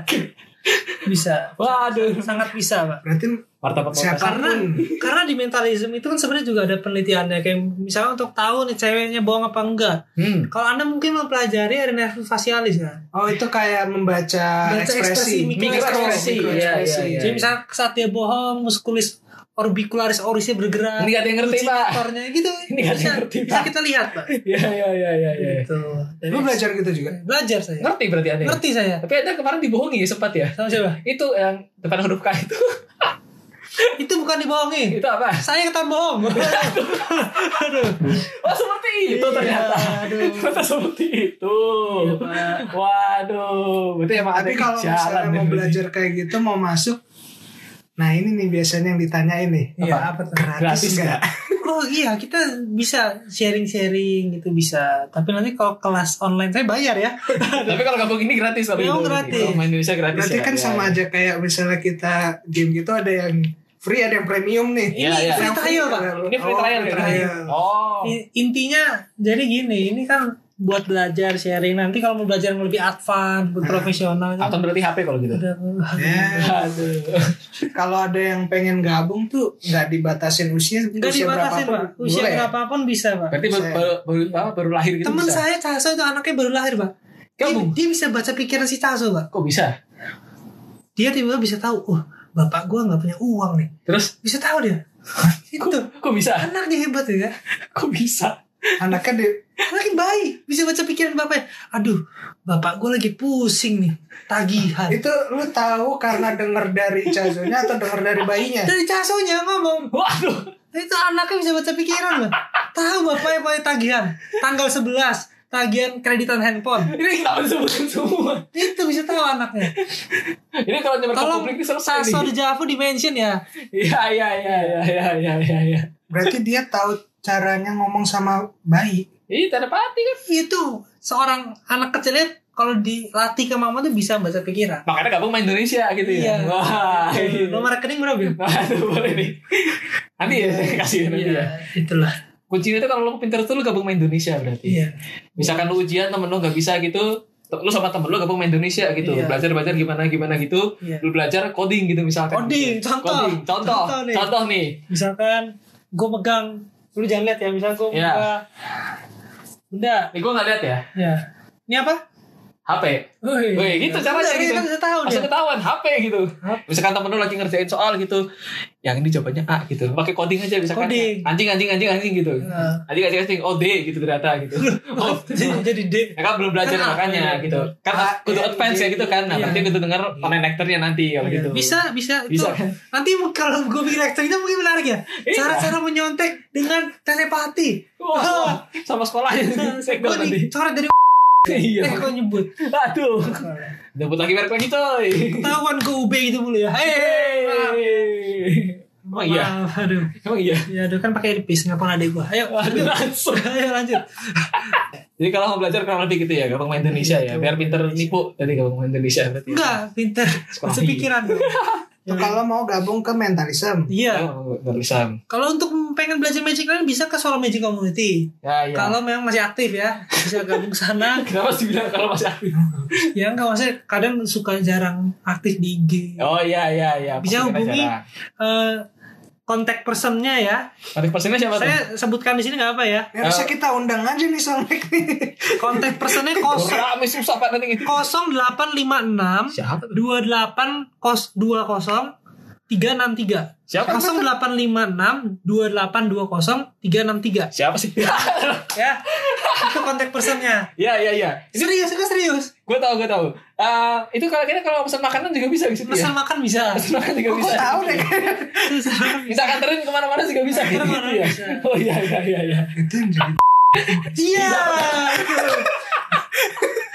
[SPEAKER 2] bisa
[SPEAKER 1] Waduh.
[SPEAKER 2] sangat bisa pak
[SPEAKER 3] berarti
[SPEAKER 1] Martabat
[SPEAKER 3] siapa
[SPEAKER 1] podcast.
[SPEAKER 2] karena karena di mentalisme itu kan sebenarnya juga ada penelitiannya kayak misalnya untuk tahu nih ceweknya bohong apa enggak
[SPEAKER 1] Hmm.
[SPEAKER 2] kalau anda mungkin mempelajari ada nervus facialis kan
[SPEAKER 3] oh itu kayak membaca
[SPEAKER 2] Baca ekspresi,
[SPEAKER 3] ekspresi
[SPEAKER 2] mikro
[SPEAKER 1] Ah, ekspresi. Iya, iya, iya.
[SPEAKER 2] Jadi misalnya saat dia bohong, muskulis orbicularis orisnya bergerak.
[SPEAKER 1] Ini nggak ada yang ngerti, Pak.
[SPEAKER 2] Sektornya gitu.
[SPEAKER 1] Ini nggak ada yang
[SPEAKER 2] Bisa-
[SPEAKER 1] ngerti,
[SPEAKER 2] bisa
[SPEAKER 1] Pak.
[SPEAKER 2] kita lihat, Pak.
[SPEAKER 1] Iya iya iya iya. iya.
[SPEAKER 2] Gitu. Dari-
[SPEAKER 3] lu belajar gitu juga
[SPEAKER 2] belajar saya.
[SPEAKER 1] Ngerti berarti Anda. ya?
[SPEAKER 2] Ngerti saya.
[SPEAKER 1] Tapi Anda kemarin dibohongi ya, sempat ya?
[SPEAKER 2] Sama siapa?
[SPEAKER 1] Itu yang depan huruf K itu.
[SPEAKER 2] Itu bukan dibohongin.
[SPEAKER 1] itu apa?
[SPEAKER 2] Saya kata bohong. Aduh.
[SPEAKER 1] Oh, seperti itu ternyata.
[SPEAKER 2] aduh.
[SPEAKER 1] Ternyata seperti itu.
[SPEAKER 2] Iya, Pak.
[SPEAKER 1] Waduh, berarti emang ada
[SPEAKER 3] tapi kalau
[SPEAKER 1] jalan
[SPEAKER 3] misalnya mau
[SPEAKER 1] nih.
[SPEAKER 3] belajar kayak gitu mau masuk nah ini nih biasanya yang ditanyain nih
[SPEAKER 2] Iya, apa tuh?
[SPEAKER 1] Gratis
[SPEAKER 3] gratis nggak
[SPEAKER 2] Oh iya, kita bisa sharing-sharing gitu bisa. Tapi nanti kalau kelas online saya bayar ya.
[SPEAKER 1] Tapi kalau gabung ini gratis tapi
[SPEAKER 2] Memang
[SPEAKER 1] itu.
[SPEAKER 2] gratis.
[SPEAKER 1] Kalau main Indonesia gratis.
[SPEAKER 3] berarti
[SPEAKER 1] ya,
[SPEAKER 3] kan
[SPEAKER 1] ya,
[SPEAKER 3] sama
[SPEAKER 1] ya.
[SPEAKER 3] aja kayak misalnya kita game gitu ada yang free ada yang premium nih. kan?
[SPEAKER 1] Iya, iya.
[SPEAKER 2] free trial, Pak.
[SPEAKER 1] Ini
[SPEAKER 3] Oh,
[SPEAKER 1] free trial ya? Oh.
[SPEAKER 2] I- intinya jadi gini ini kan buat belajar sharing nanti kalau mau belajar yang lebih advance lebih profesional itu
[SPEAKER 1] Hmm. Atau berarti HP kalau gitu.
[SPEAKER 2] udah
[SPEAKER 3] Ya, kalau ada yang pengen gabung tuh nggak dibatasin usia,
[SPEAKER 2] nggak
[SPEAKER 3] usia
[SPEAKER 2] dibatasin
[SPEAKER 3] berapapun
[SPEAKER 2] pak usia
[SPEAKER 3] boleh.
[SPEAKER 2] berapapun bisa pak
[SPEAKER 1] Berarti baru,
[SPEAKER 3] Bisa.
[SPEAKER 1] baru, baru, apa, baru lahir ya? gitu
[SPEAKER 2] teman
[SPEAKER 1] bisa.
[SPEAKER 2] saya Caso itu anaknya baru lahir pak dia,
[SPEAKER 1] Gabung.
[SPEAKER 2] dia bisa baca pikiran si Caso pak
[SPEAKER 1] Kok bisa?
[SPEAKER 2] dia tiba-tiba bisa tahu oh bapak gua nggak punya uang nih
[SPEAKER 1] Terus
[SPEAKER 2] bisa tahu dia itu
[SPEAKER 1] kok bisa?
[SPEAKER 2] anaknya hebat ya
[SPEAKER 1] Kok bisa?
[SPEAKER 3] Anaknya di,
[SPEAKER 2] anaknya baik bisa baca pikiran bapaknya aduh bapak gua lagi pusing nih tagihan
[SPEAKER 3] itu lu tahu karena denger dari cazonya atau denger dari bayinya?
[SPEAKER 2] dari casonya ngomong
[SPEAKER 1] Waduh.
[SPEAKER 2] itu anaknya bisa baca pikiran loh tahu bapaknya pakai tagihan tanggal 11 tagihan kreditan handphone
[SPEAKER 1] Ini kita sebutin semua.
[SPEAKER 2] itu bisa tahu anaknya
[SPEAKER 1] Ini kalau nyebar ke
[SPEAKER 2] tolong
[SPEAKER 1] publik ini selesai
[SPEAKER 2] Sasso
[SPEAKER 1] nih.
[SPEAKER 2] di Javo di mention ya
[SPEAKER 1] Iya, iya, iya, iya, iya, iya, iya, iya.
[SPEAKER 3] Berarti dia tahu caranya ngomong sama bayi.
[SPEAKER 1] Ih, tanda pati kan.
[SPEAKER 2] itu seorang anak kecilnya kalau dilatih ke mama tuh bisa baca pikiran
[SPEAKER 1] Makanya gabung main Indonesia gitu ya.
[SPEAKER 2] Iya.
[SPEAKER 1] Wah. iya.
[SPEAKER 2] Tuh, nomor rekening berapa
[SPEAKER 1] Nah, itu boleh nih. Nanti ya, saya kasih
[SPEAKER 2] Iya.
[SPEAKER 1] nanti ya.
[SPEAKER 2] itulah
[SPEAKER 1] Kuncinya itu kalau lu pinter tuh lu gabung main Indonesia berarti.
[SPEAKER 2] iya
[SPEAKER 1] Misalkan lu ujian temen lu nggak bisa gitu, te- lu sama temen lu gabung main Indonesia gitu.
[SPEAKER 2] Iya.
[SPEAKER 1] Belajar belajar gimana gimana gitu.
[SPEAKER 2] Iya.
[SPEAKER 1] Lu belajar coding gitu misalkan.
[SPEAKER 2] Coding,
[SPEAKER 1] Gitu.
[SPEAKER 2] contoh.
[SPEAKER 1] Coding, contoh,
[SPEAKER 2] Contoh nih.
[SPEAKER 1] contoh nih.
[SPEAKER 2] misalkan gue megang lu jangan lihat ya misalkan gue
[SPEAKER 1] Iya.
[SPEAKER 2] megang benda
[SPEAKER 1] Nih gua nggak lihat ya.
[SPEAKER 2] ya ini apa
[SPEAKER 1] HP.
[SPEAKER 2] Woi,
[SPEAKER 1] Woi, gitu caranya
[SPEAKER 2] Udah,
[SPEAKER 1] gitu.
[SPEAKER 2] Iya, kita bisa tahu
[SPEAKER 1] Langsung
[SPEAKER 2] dia.
[SPEAKER 1] ketahuan HP gitu.
[SPEAKER 2] Hap.
[SPEAKER 1] Misalkan temen lu lagi ngerjain soal gitu, yang ini jawabannya A gitu. Pakai coding aja misalkan.
[SPEAKER 2] Coding.
[SPEAKER 1] Anjing anjing anjing anjing gitu.
[SPEAKER 2] Nah.
[SPEAKER 1] Anjing anjing anjing oh D gitu ternyata gitu. Oh,
[SPEAKER 2] jadi jadi D
[SPEAKER 1] Ya kan belum
[SPEAKER 2] iya.
[SPEAKER 1] belajar
[SPEAKER 2] Kan apa,
[SPEAKER 1] makanya
[SPEAKER 2] iya,
[SPEAKER 1] gitu. Kan
[SPEAKER 3] Ah,
[SPEAKER 1] kudu
[SPEAKER 3] iya,
[SPEAKER 1] advance ya
[SPEAKER 3] iya,
[SPEAKER 1] gitu kan. Nah,
[SPEAKER 2] iya.
[SPEAKER 1] berarti kudu denger online actornya nanti kalau gitu.
[SPEAKER 2] bisa bisa itu
[SPEAKER 1] Bisa, kan?
[SPEAKER 2] nanti mu- kalau gue bikin reaction itu mungkin menarik ya
[SPEAKER 1] Iya.
[SPEAKER 2] cara-cara menyontek dengan telepati Oh.
[SPEAKER 1] Wah, sama sekolahnya segel
[SPEAKER 2] gue
[SPEAKER 1] nanti.
[SPEAKER 2] dicoret dari
[SPEAKER 1] Iya.
[SPEAKER 2] eh gue nyebut
[SPEAKER 1] Aduh. Debut lagi merek lagi coy.
[SPEAKER 2] ketahuan gue UB gitu dulu ya
[SPEAKER 1] Hey.
[SPEAKER 2] hei
[SPEAKER 1] Emang iya.
[SPEAKER 2] aduh
[SPEAKER 1] Emang iya.
[SPEAKER 2] ya aduh kan pakai tipis nggak pernah ada gue ayo
[SPEAKER 1] Aduh,
[SPEAKER 2] lanjut
[SPEAKER 1] langsung.
[SPEAKER 2] ayo lanjut
[SPEAKER 1] Jadi kalau mau belajar kurang lebih gitu ya, gampang main Indonesia ya. Biar pinter nipu tadi gampang main Indonesia berarti. ya.
[SPEAKER 2] enggak pinter
[SPEAKER 1] Sekolah
[SPEAKER 2] masih pikiran
[SPEAKER 3] Itu kalau mau gabung ke mentalism.
[SPEAKER 2] iya
[SPEAKER 1] Tulisan.
[SPEAKER 2] kalau untuk pengen belajar magic lain bisa ke Solo Magic Community
[SPEAKER 1] Ya, ya.
[SPEAKER 2] kalau memang masih aktif ya bisa gabung sana
[SPEAKER 1] Kenapa sih bilang kalau masih aktif?
[SPEAKER 2] ya enggak maksudnya kadang suka jarang aktif di IG
[SPEAKER 1] Oh iya iya iya.
[SPEAKER 2] Bisa
[SPEAKER 1] Pasti kena
[SPEAKER 2] hubungi.
[SPEAKER 1] jarak.
[SPEAKER 2] Eh, kontak personnya ya
[SPEAKER 1] Kontak personnya siapa tuh?
[SPEAKER 2] saya sebutkan di sini nggak apa ya
[SPEAKER 3] Ya, bisa kita undang aja nih Solmek nih.
[SPEAKER 2] kontak personnya
[SPEAKER 1] Oh,
[SPEAKER 2] kosong
[SPEAKER 1] rame susah pak nanti gitu.
[SPEAKER 2] 0856
[SPEAKER 1] Siapa?
[SPEAKER 2] 28 kos 20 363
[SPEAKER 1] Siapa?
[SPEAKER 2] 0856 2820 363
[SPEAKER 1] Siapa sih?
[SPEAKER 2] ya itu kontak personnya
[SPEAKER 1] ya ya ya.
[SPEAKER 2] serius gue serius
[SPEAKER 1] Gue tahu gue tahu. Eh, itu kalau kita kalau pesan makanan juga bisa gitu
[SPEAKER 2] pesan Oh,
[SPEAKER 1] ya.
[SPEAKER 2] makan bisa Iya.
[SPEAKER 1] Pesan makanan juga
[SPEAKER 3] Kok
[SPEAKER 1] bisa.
[SPEAKER 3] gue tahu deh.
[SPEAKER 2] Pesan makan bisa.
[SPEAKER 1] Bisa kanterin kemana-mana juga bisa gitu,
[SPEAKER 2] Kemana-mana
[SPEAKER 1] ya.
[SPEAKER 2] bisa.
[SPEAKER 1] Oh iya iya iya. iya.
[SPEAKER 3] Itu yang jadi.
[SPEAKER 2] iya itu.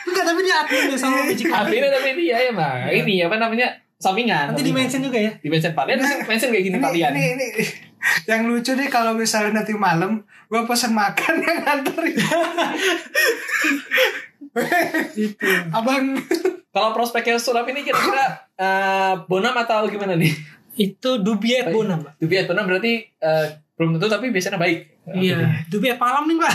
[SPEAKER 2] enggak tapi dia admin deh sama Magic Hub.
[SPEAKER 1] Tapi ini tapi ini ya ya Mak. Ini apa namanya sampingan.
[SPEAKER 2] Iya. Nanti di mention juga ya.
[SPEAKER 1] Di mention Pak. Lihat sih, mention kayak gini
[SPEAKER 3] Ini,
[SPEAKER 1] Pak Lian.
[SPEAKER 3] ini, ini. Yang lucu deh kalau misalnya nanti malam gue pesen makan yang nganterin.
[SPEAKER 2] Itu.
[SPEAKER 3] Abang
[SPEAKER 1] Kalau prospeknya Sulam ini kira-kira eh, bonam atau gimana nih?
[SPEAKER 2] Itu Dubi at Bonam, Pak.
[SPEAKER 1] Dubi at bonam berarti eh, belum tentu tapi biasanya baik.
[SPEAKER 2] Iya, Dubi at Malam nih, Pak.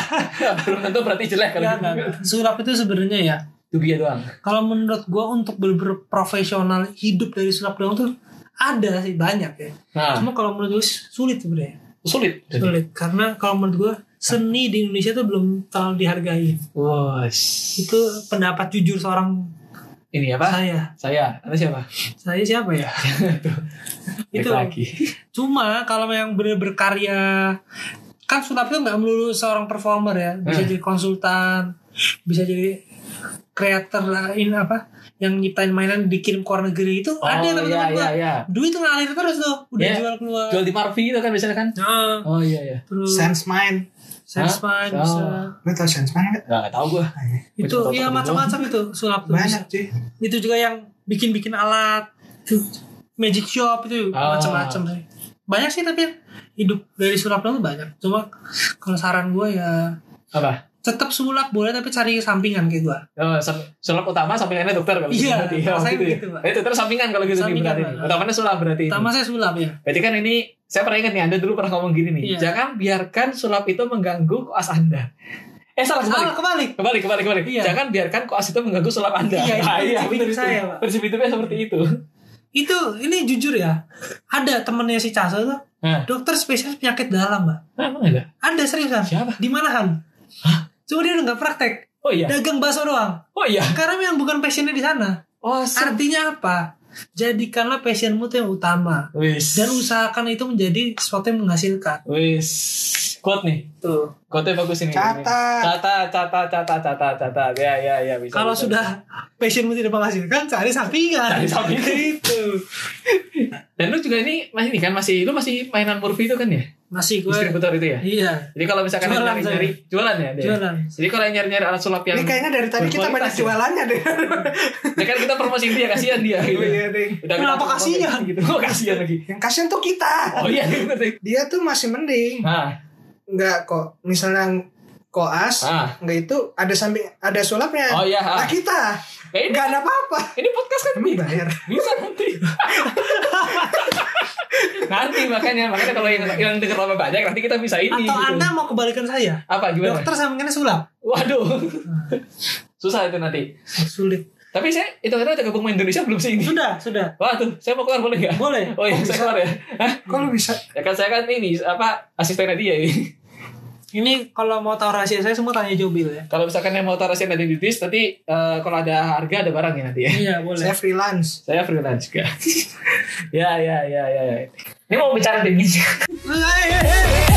[SPEAKER 1] belum tentu berarti jelek kalau
[SPEAKER 2] Enggak,
[SPEAKER 1] gitu.
[SPEAKER 2] Iya, enggak, enggak. Sulap itu sebenarnya ya.
[SPEAKER 1] Dubi doang.
[SPEAKER 2] Kalau menurut gua untuk bener profesional hidup dari sulap doang tuh ada sih banyak ya.
[SPEAKER 1] Nah,
[SPEAKER 2] Cuma kalau menurut gue sulit sebenarnya.
[SPEAKER 1] sulit. berarti.
[SPEAKER 2] Sulit karena kalau menurut gua seni di Indonesia tuh belum terlalu dihargai.
[SPEAKER 1] Wos.
[SPEAKER 2] Itu pendapat jujur seorang
[SPEAKER 1] Ini apa?
[SPEAKER 2] saya.
[SPEAKER 1] Saya. Anda siapa?
[SPEAKER 2] Saya siapa ya?
[SPEAKER 1] Iya, Balik
[SPEAKER 2] itu.
[SPEAKER 1] lagi.
[SPEAKER 2] Cuma kalau yang bener berkarya kan sulap itu nggak melulu seorang performer ya, bisa
[SPEAKER 1] Hmm.
[SPEAKER 2] jadi konsultan, bisa jadi kreator lah, ini apa yang nyiptain mainan dikirim ke luar negeri itu ada teman-teman
[SPEAKER 1] iya,
[SPEAKER 2] gua.
[SPEAKER 1] iya, iya.
[SPEAKER 2] Duit tuh ngalir terus tuh, udah
[SPEAKER 1] Iya.
[SPEAKER 2] jual keluar.
[SPEAKER 1] Jual di Marvi itu kan biasanya kan?
[SPEAKER 2] Nah,
[SPEAKER 1] Oh iya iya.
[SPEAKER 2] terus
[SPEAKER 3] sense mind.
[SPEAKER 2] sense mind
[SPEAKER 1] Hah?
[SPEAKER 2] bisa.
[SPEAKER 1] Oh.
[SPEAKER 3] Lu tau sense mind nggak?
[SPEAKER 1] Enggak tahu gua.
[SPEAKER 2] Itu
[SPEAKER 1] Betul,
[SPEAKER 2] ya
[SPEAKER 1] betul.
[SPEAKER 2] macam-macam itu sulap tuh bisa.
[SPEAKER 3] Banyak sih.
[SPEAKER 2] Itu juga yang bikin-bikin alat. tuh, Magic shop itu
[SPEAKER 1] Ah.
[SPEAKER 2] macam-macam sih. Banyak sih tapi hidup dari sulap doang tuh banyak. Cuma kalau saran gue ya
[SPEAKER 1] Apa?
[SPEAKER 2] tetap sulap boleh tapi cari sampingan kayak gua
[SPEAKER 1] Oh, sam- sulap utama sampingannya dokter kalau gitu
[SPEAKER 2] Iya,
[SPEAKER 1] berarti.
[SPEAKER 2] saya
[SPEAKER 1] gitu ya.
[SPEAKER 2] begitu, Pak.
[SPEAKER 1] Eh, dokter sampingan kalau gitu
[SPEAKER 2] Sampingan,
[SPEAKER 1] berarti.
[SPEAKER 2] Pak.
[SPEAKER 1] Utamanya sulap berarti. ini.
[SPEAKER 2] pertama saya sulap ya
[SPEAKER 1] Berarti kan ini saya pernah ingat nih Anda dulu pernah ngomong gini nih.
[SPEAKER 2] Iya.
[SPEAKER 1] Jangan biarkan sulap itu mengganggu koas Anda. Eh salah
[SPEAKER 2] salah Ah,
[SPEAKER 1] kembali.
[SPEAKER 2] kebalik
[SPEAKER 1] Kembali kembali kembali.
[SPEAKER 2] Iya.
[SPEAKER 1] Jangan biarkan koas itu mengganggu sulap Anda.
[SPEAKER 2] Iya, itu
[SPEAKER 1] Nah,
[SPEAKER 2] prinsip
[SPEAKER 1] bener
[SPEAKER 2] hidup
[SPEAKER 1] itu.
[SPEAKER 2] saya, Pak.
[SPEAKER 1] Prinsip hidupnya seperti itu.
[SPEAKER 2] itu ini jujur ya ada temennya si Casa tuh
[SPEAKER 1] Nah,
[SPEAKER 2] dokter spesialis penyakit dalam mbak
[SPEAKER 1] emang ada?
[SPEAKER 2] ada seriusan
[SPEAKER 1] Siapa?
[SPEAKER 2] di mana Han cuma dia udah nggak praktek
[SPEAKER 1] Oh iya.
[SPEAKER 2] dagang bakso doang
[SPEAKER 1] Oh iya.
[SPEAKER 2] karena memang bukan passionnya di sana
[SPEAKER 1] Oh,
[SPEAKER 2] artinya apa jadikanlah passionmu tuh yang utama
[SPEAKER 1] Wis.
[SPEAKER 2] dan usahakan itu menjadi sesuatu yang menghasilkan
[SPEAKER 1] Wis. Quote nih.
[SPEAKER 2] tuh
[SPEAKER 1] Quote bagus ini.
[SPEAKER 3] Catat.
[SPEAKER 1] Catat, catat, catat, catat, catat. Ya, ya, ya. Bisa,
[SPEAKER 2] kalau
[SPEAKER 1] bisa.
[SPEAKER 2] sudah passionmu tidak menghasilkan cari sampingan Gitu.
[SPEAKER 1] Cari sampingan.
[SPEAKER 2] itu
[SPEAKER 1] Dan lu juga ini masih ini kan masih lu masih mainan Murphy itu kan ya?
[SPEAKER 2] masih gue
[SPEAKER 1] Distributor itu ya.
[SPEAKER 2] iya
[SPEAKER 1] Jadi kalau misalkan
[SPEAKER 2] Jualan
[SPEAKER 1] nyari nyari jualan ya. dia?
[SPEAKER 2] jualan
[SPEAKER 1] Jadi kalau yang nyari-nyari alat sulap yang
[SPEAKER 3] Ini kayaknya dari tadi kita banyak
[SPEAKER 1] berkualitas ya.
[SPEAKER 3] jualannya deh.
[SPEAKER 1] Ya kan kita promosiin dia kasihan dia gitu.
[SPEAKER 3] Iya, deh.
[SPEAKER 1] Udah kita
[SPEAKER 2] Kenapa
[SPEAKER 1] promosi,
[SPEAKER 2] kasihan?
[SPEAKER 1] gitu. Oh, kasihan lagi.
[SPEAKER 3] Yang kasihan tuh kita.
[SPEAKER 1] Oh iya bener deh.
[SPEAKER 3] Dia tuh masih mending.
[SPEAKER 1] Nah,
[SPEAKER 3] Enggak kok. Misalnya koas,
[SPEAKER 1] Ah.
[SPEAKER 3] enggak itu ada samping ada sulapnya.
[SPEAKER 1] Oh, iya, ah.
[SPEAKER 3] Nah, kita
[SPEAKER 1] eh, ini,
[SPEAKER 3] enggak ada apa-apa.
[SPEAKER 1] ini podcast kan
[SPEAKER 3] Ini bayar.
[SPEAKER 1] bisa nanti. nanti makanya makanya kalau yang yang denger lama banyak nanti kita bisa ini.
[SPEAKER 2] atau
[SPEAKER 1] gitu.
[SPEAKER 2] anda mau kebalikan saya
[SPEAKER 1] apa gimana?
[SPEAKER 2] dokter sampingannya sulap
[SPEAKER 1] Waduh. Susah itu nanti.
[SPEAKER 2] sulit
[SPEAKER 1] Tapi saya itu kira udah gabung sama Indonesia belum sih ini.
[SPEAKER 2] sudah sudah
[SPEAKER 1] Waduh, saya mau keluar boleh nggak?
[SPEAKER 2] Boleh.
[SPEAKER 1] Oh iya, saya
[SPEAKER 3] Oh, bisa.
[SPEAKER 1] keluar ya. Hah?
[SPEAKER 3] Kok lu bisa?
[SPEAKER 1] Ya kan saya kan ini apa asistennya dia ini.
[SPEAKER 2] ini kalau mau tahu rahasia saya semua tanya Jobil ya
[SPEAKER 1] Kalau misalkan yang mau taruh asistennya di dis, nanti eh, kalau ada harga ada barang ya nanti ya.
[SPEAKER 2] iya
[SPEAKER 3] Saya freelance.
[SPEAKER 1] Saya freelance juga. ya, ya, ya, ya. ya. Ini mau bicara di
[SPEAKER 2] Hei, hei, hei.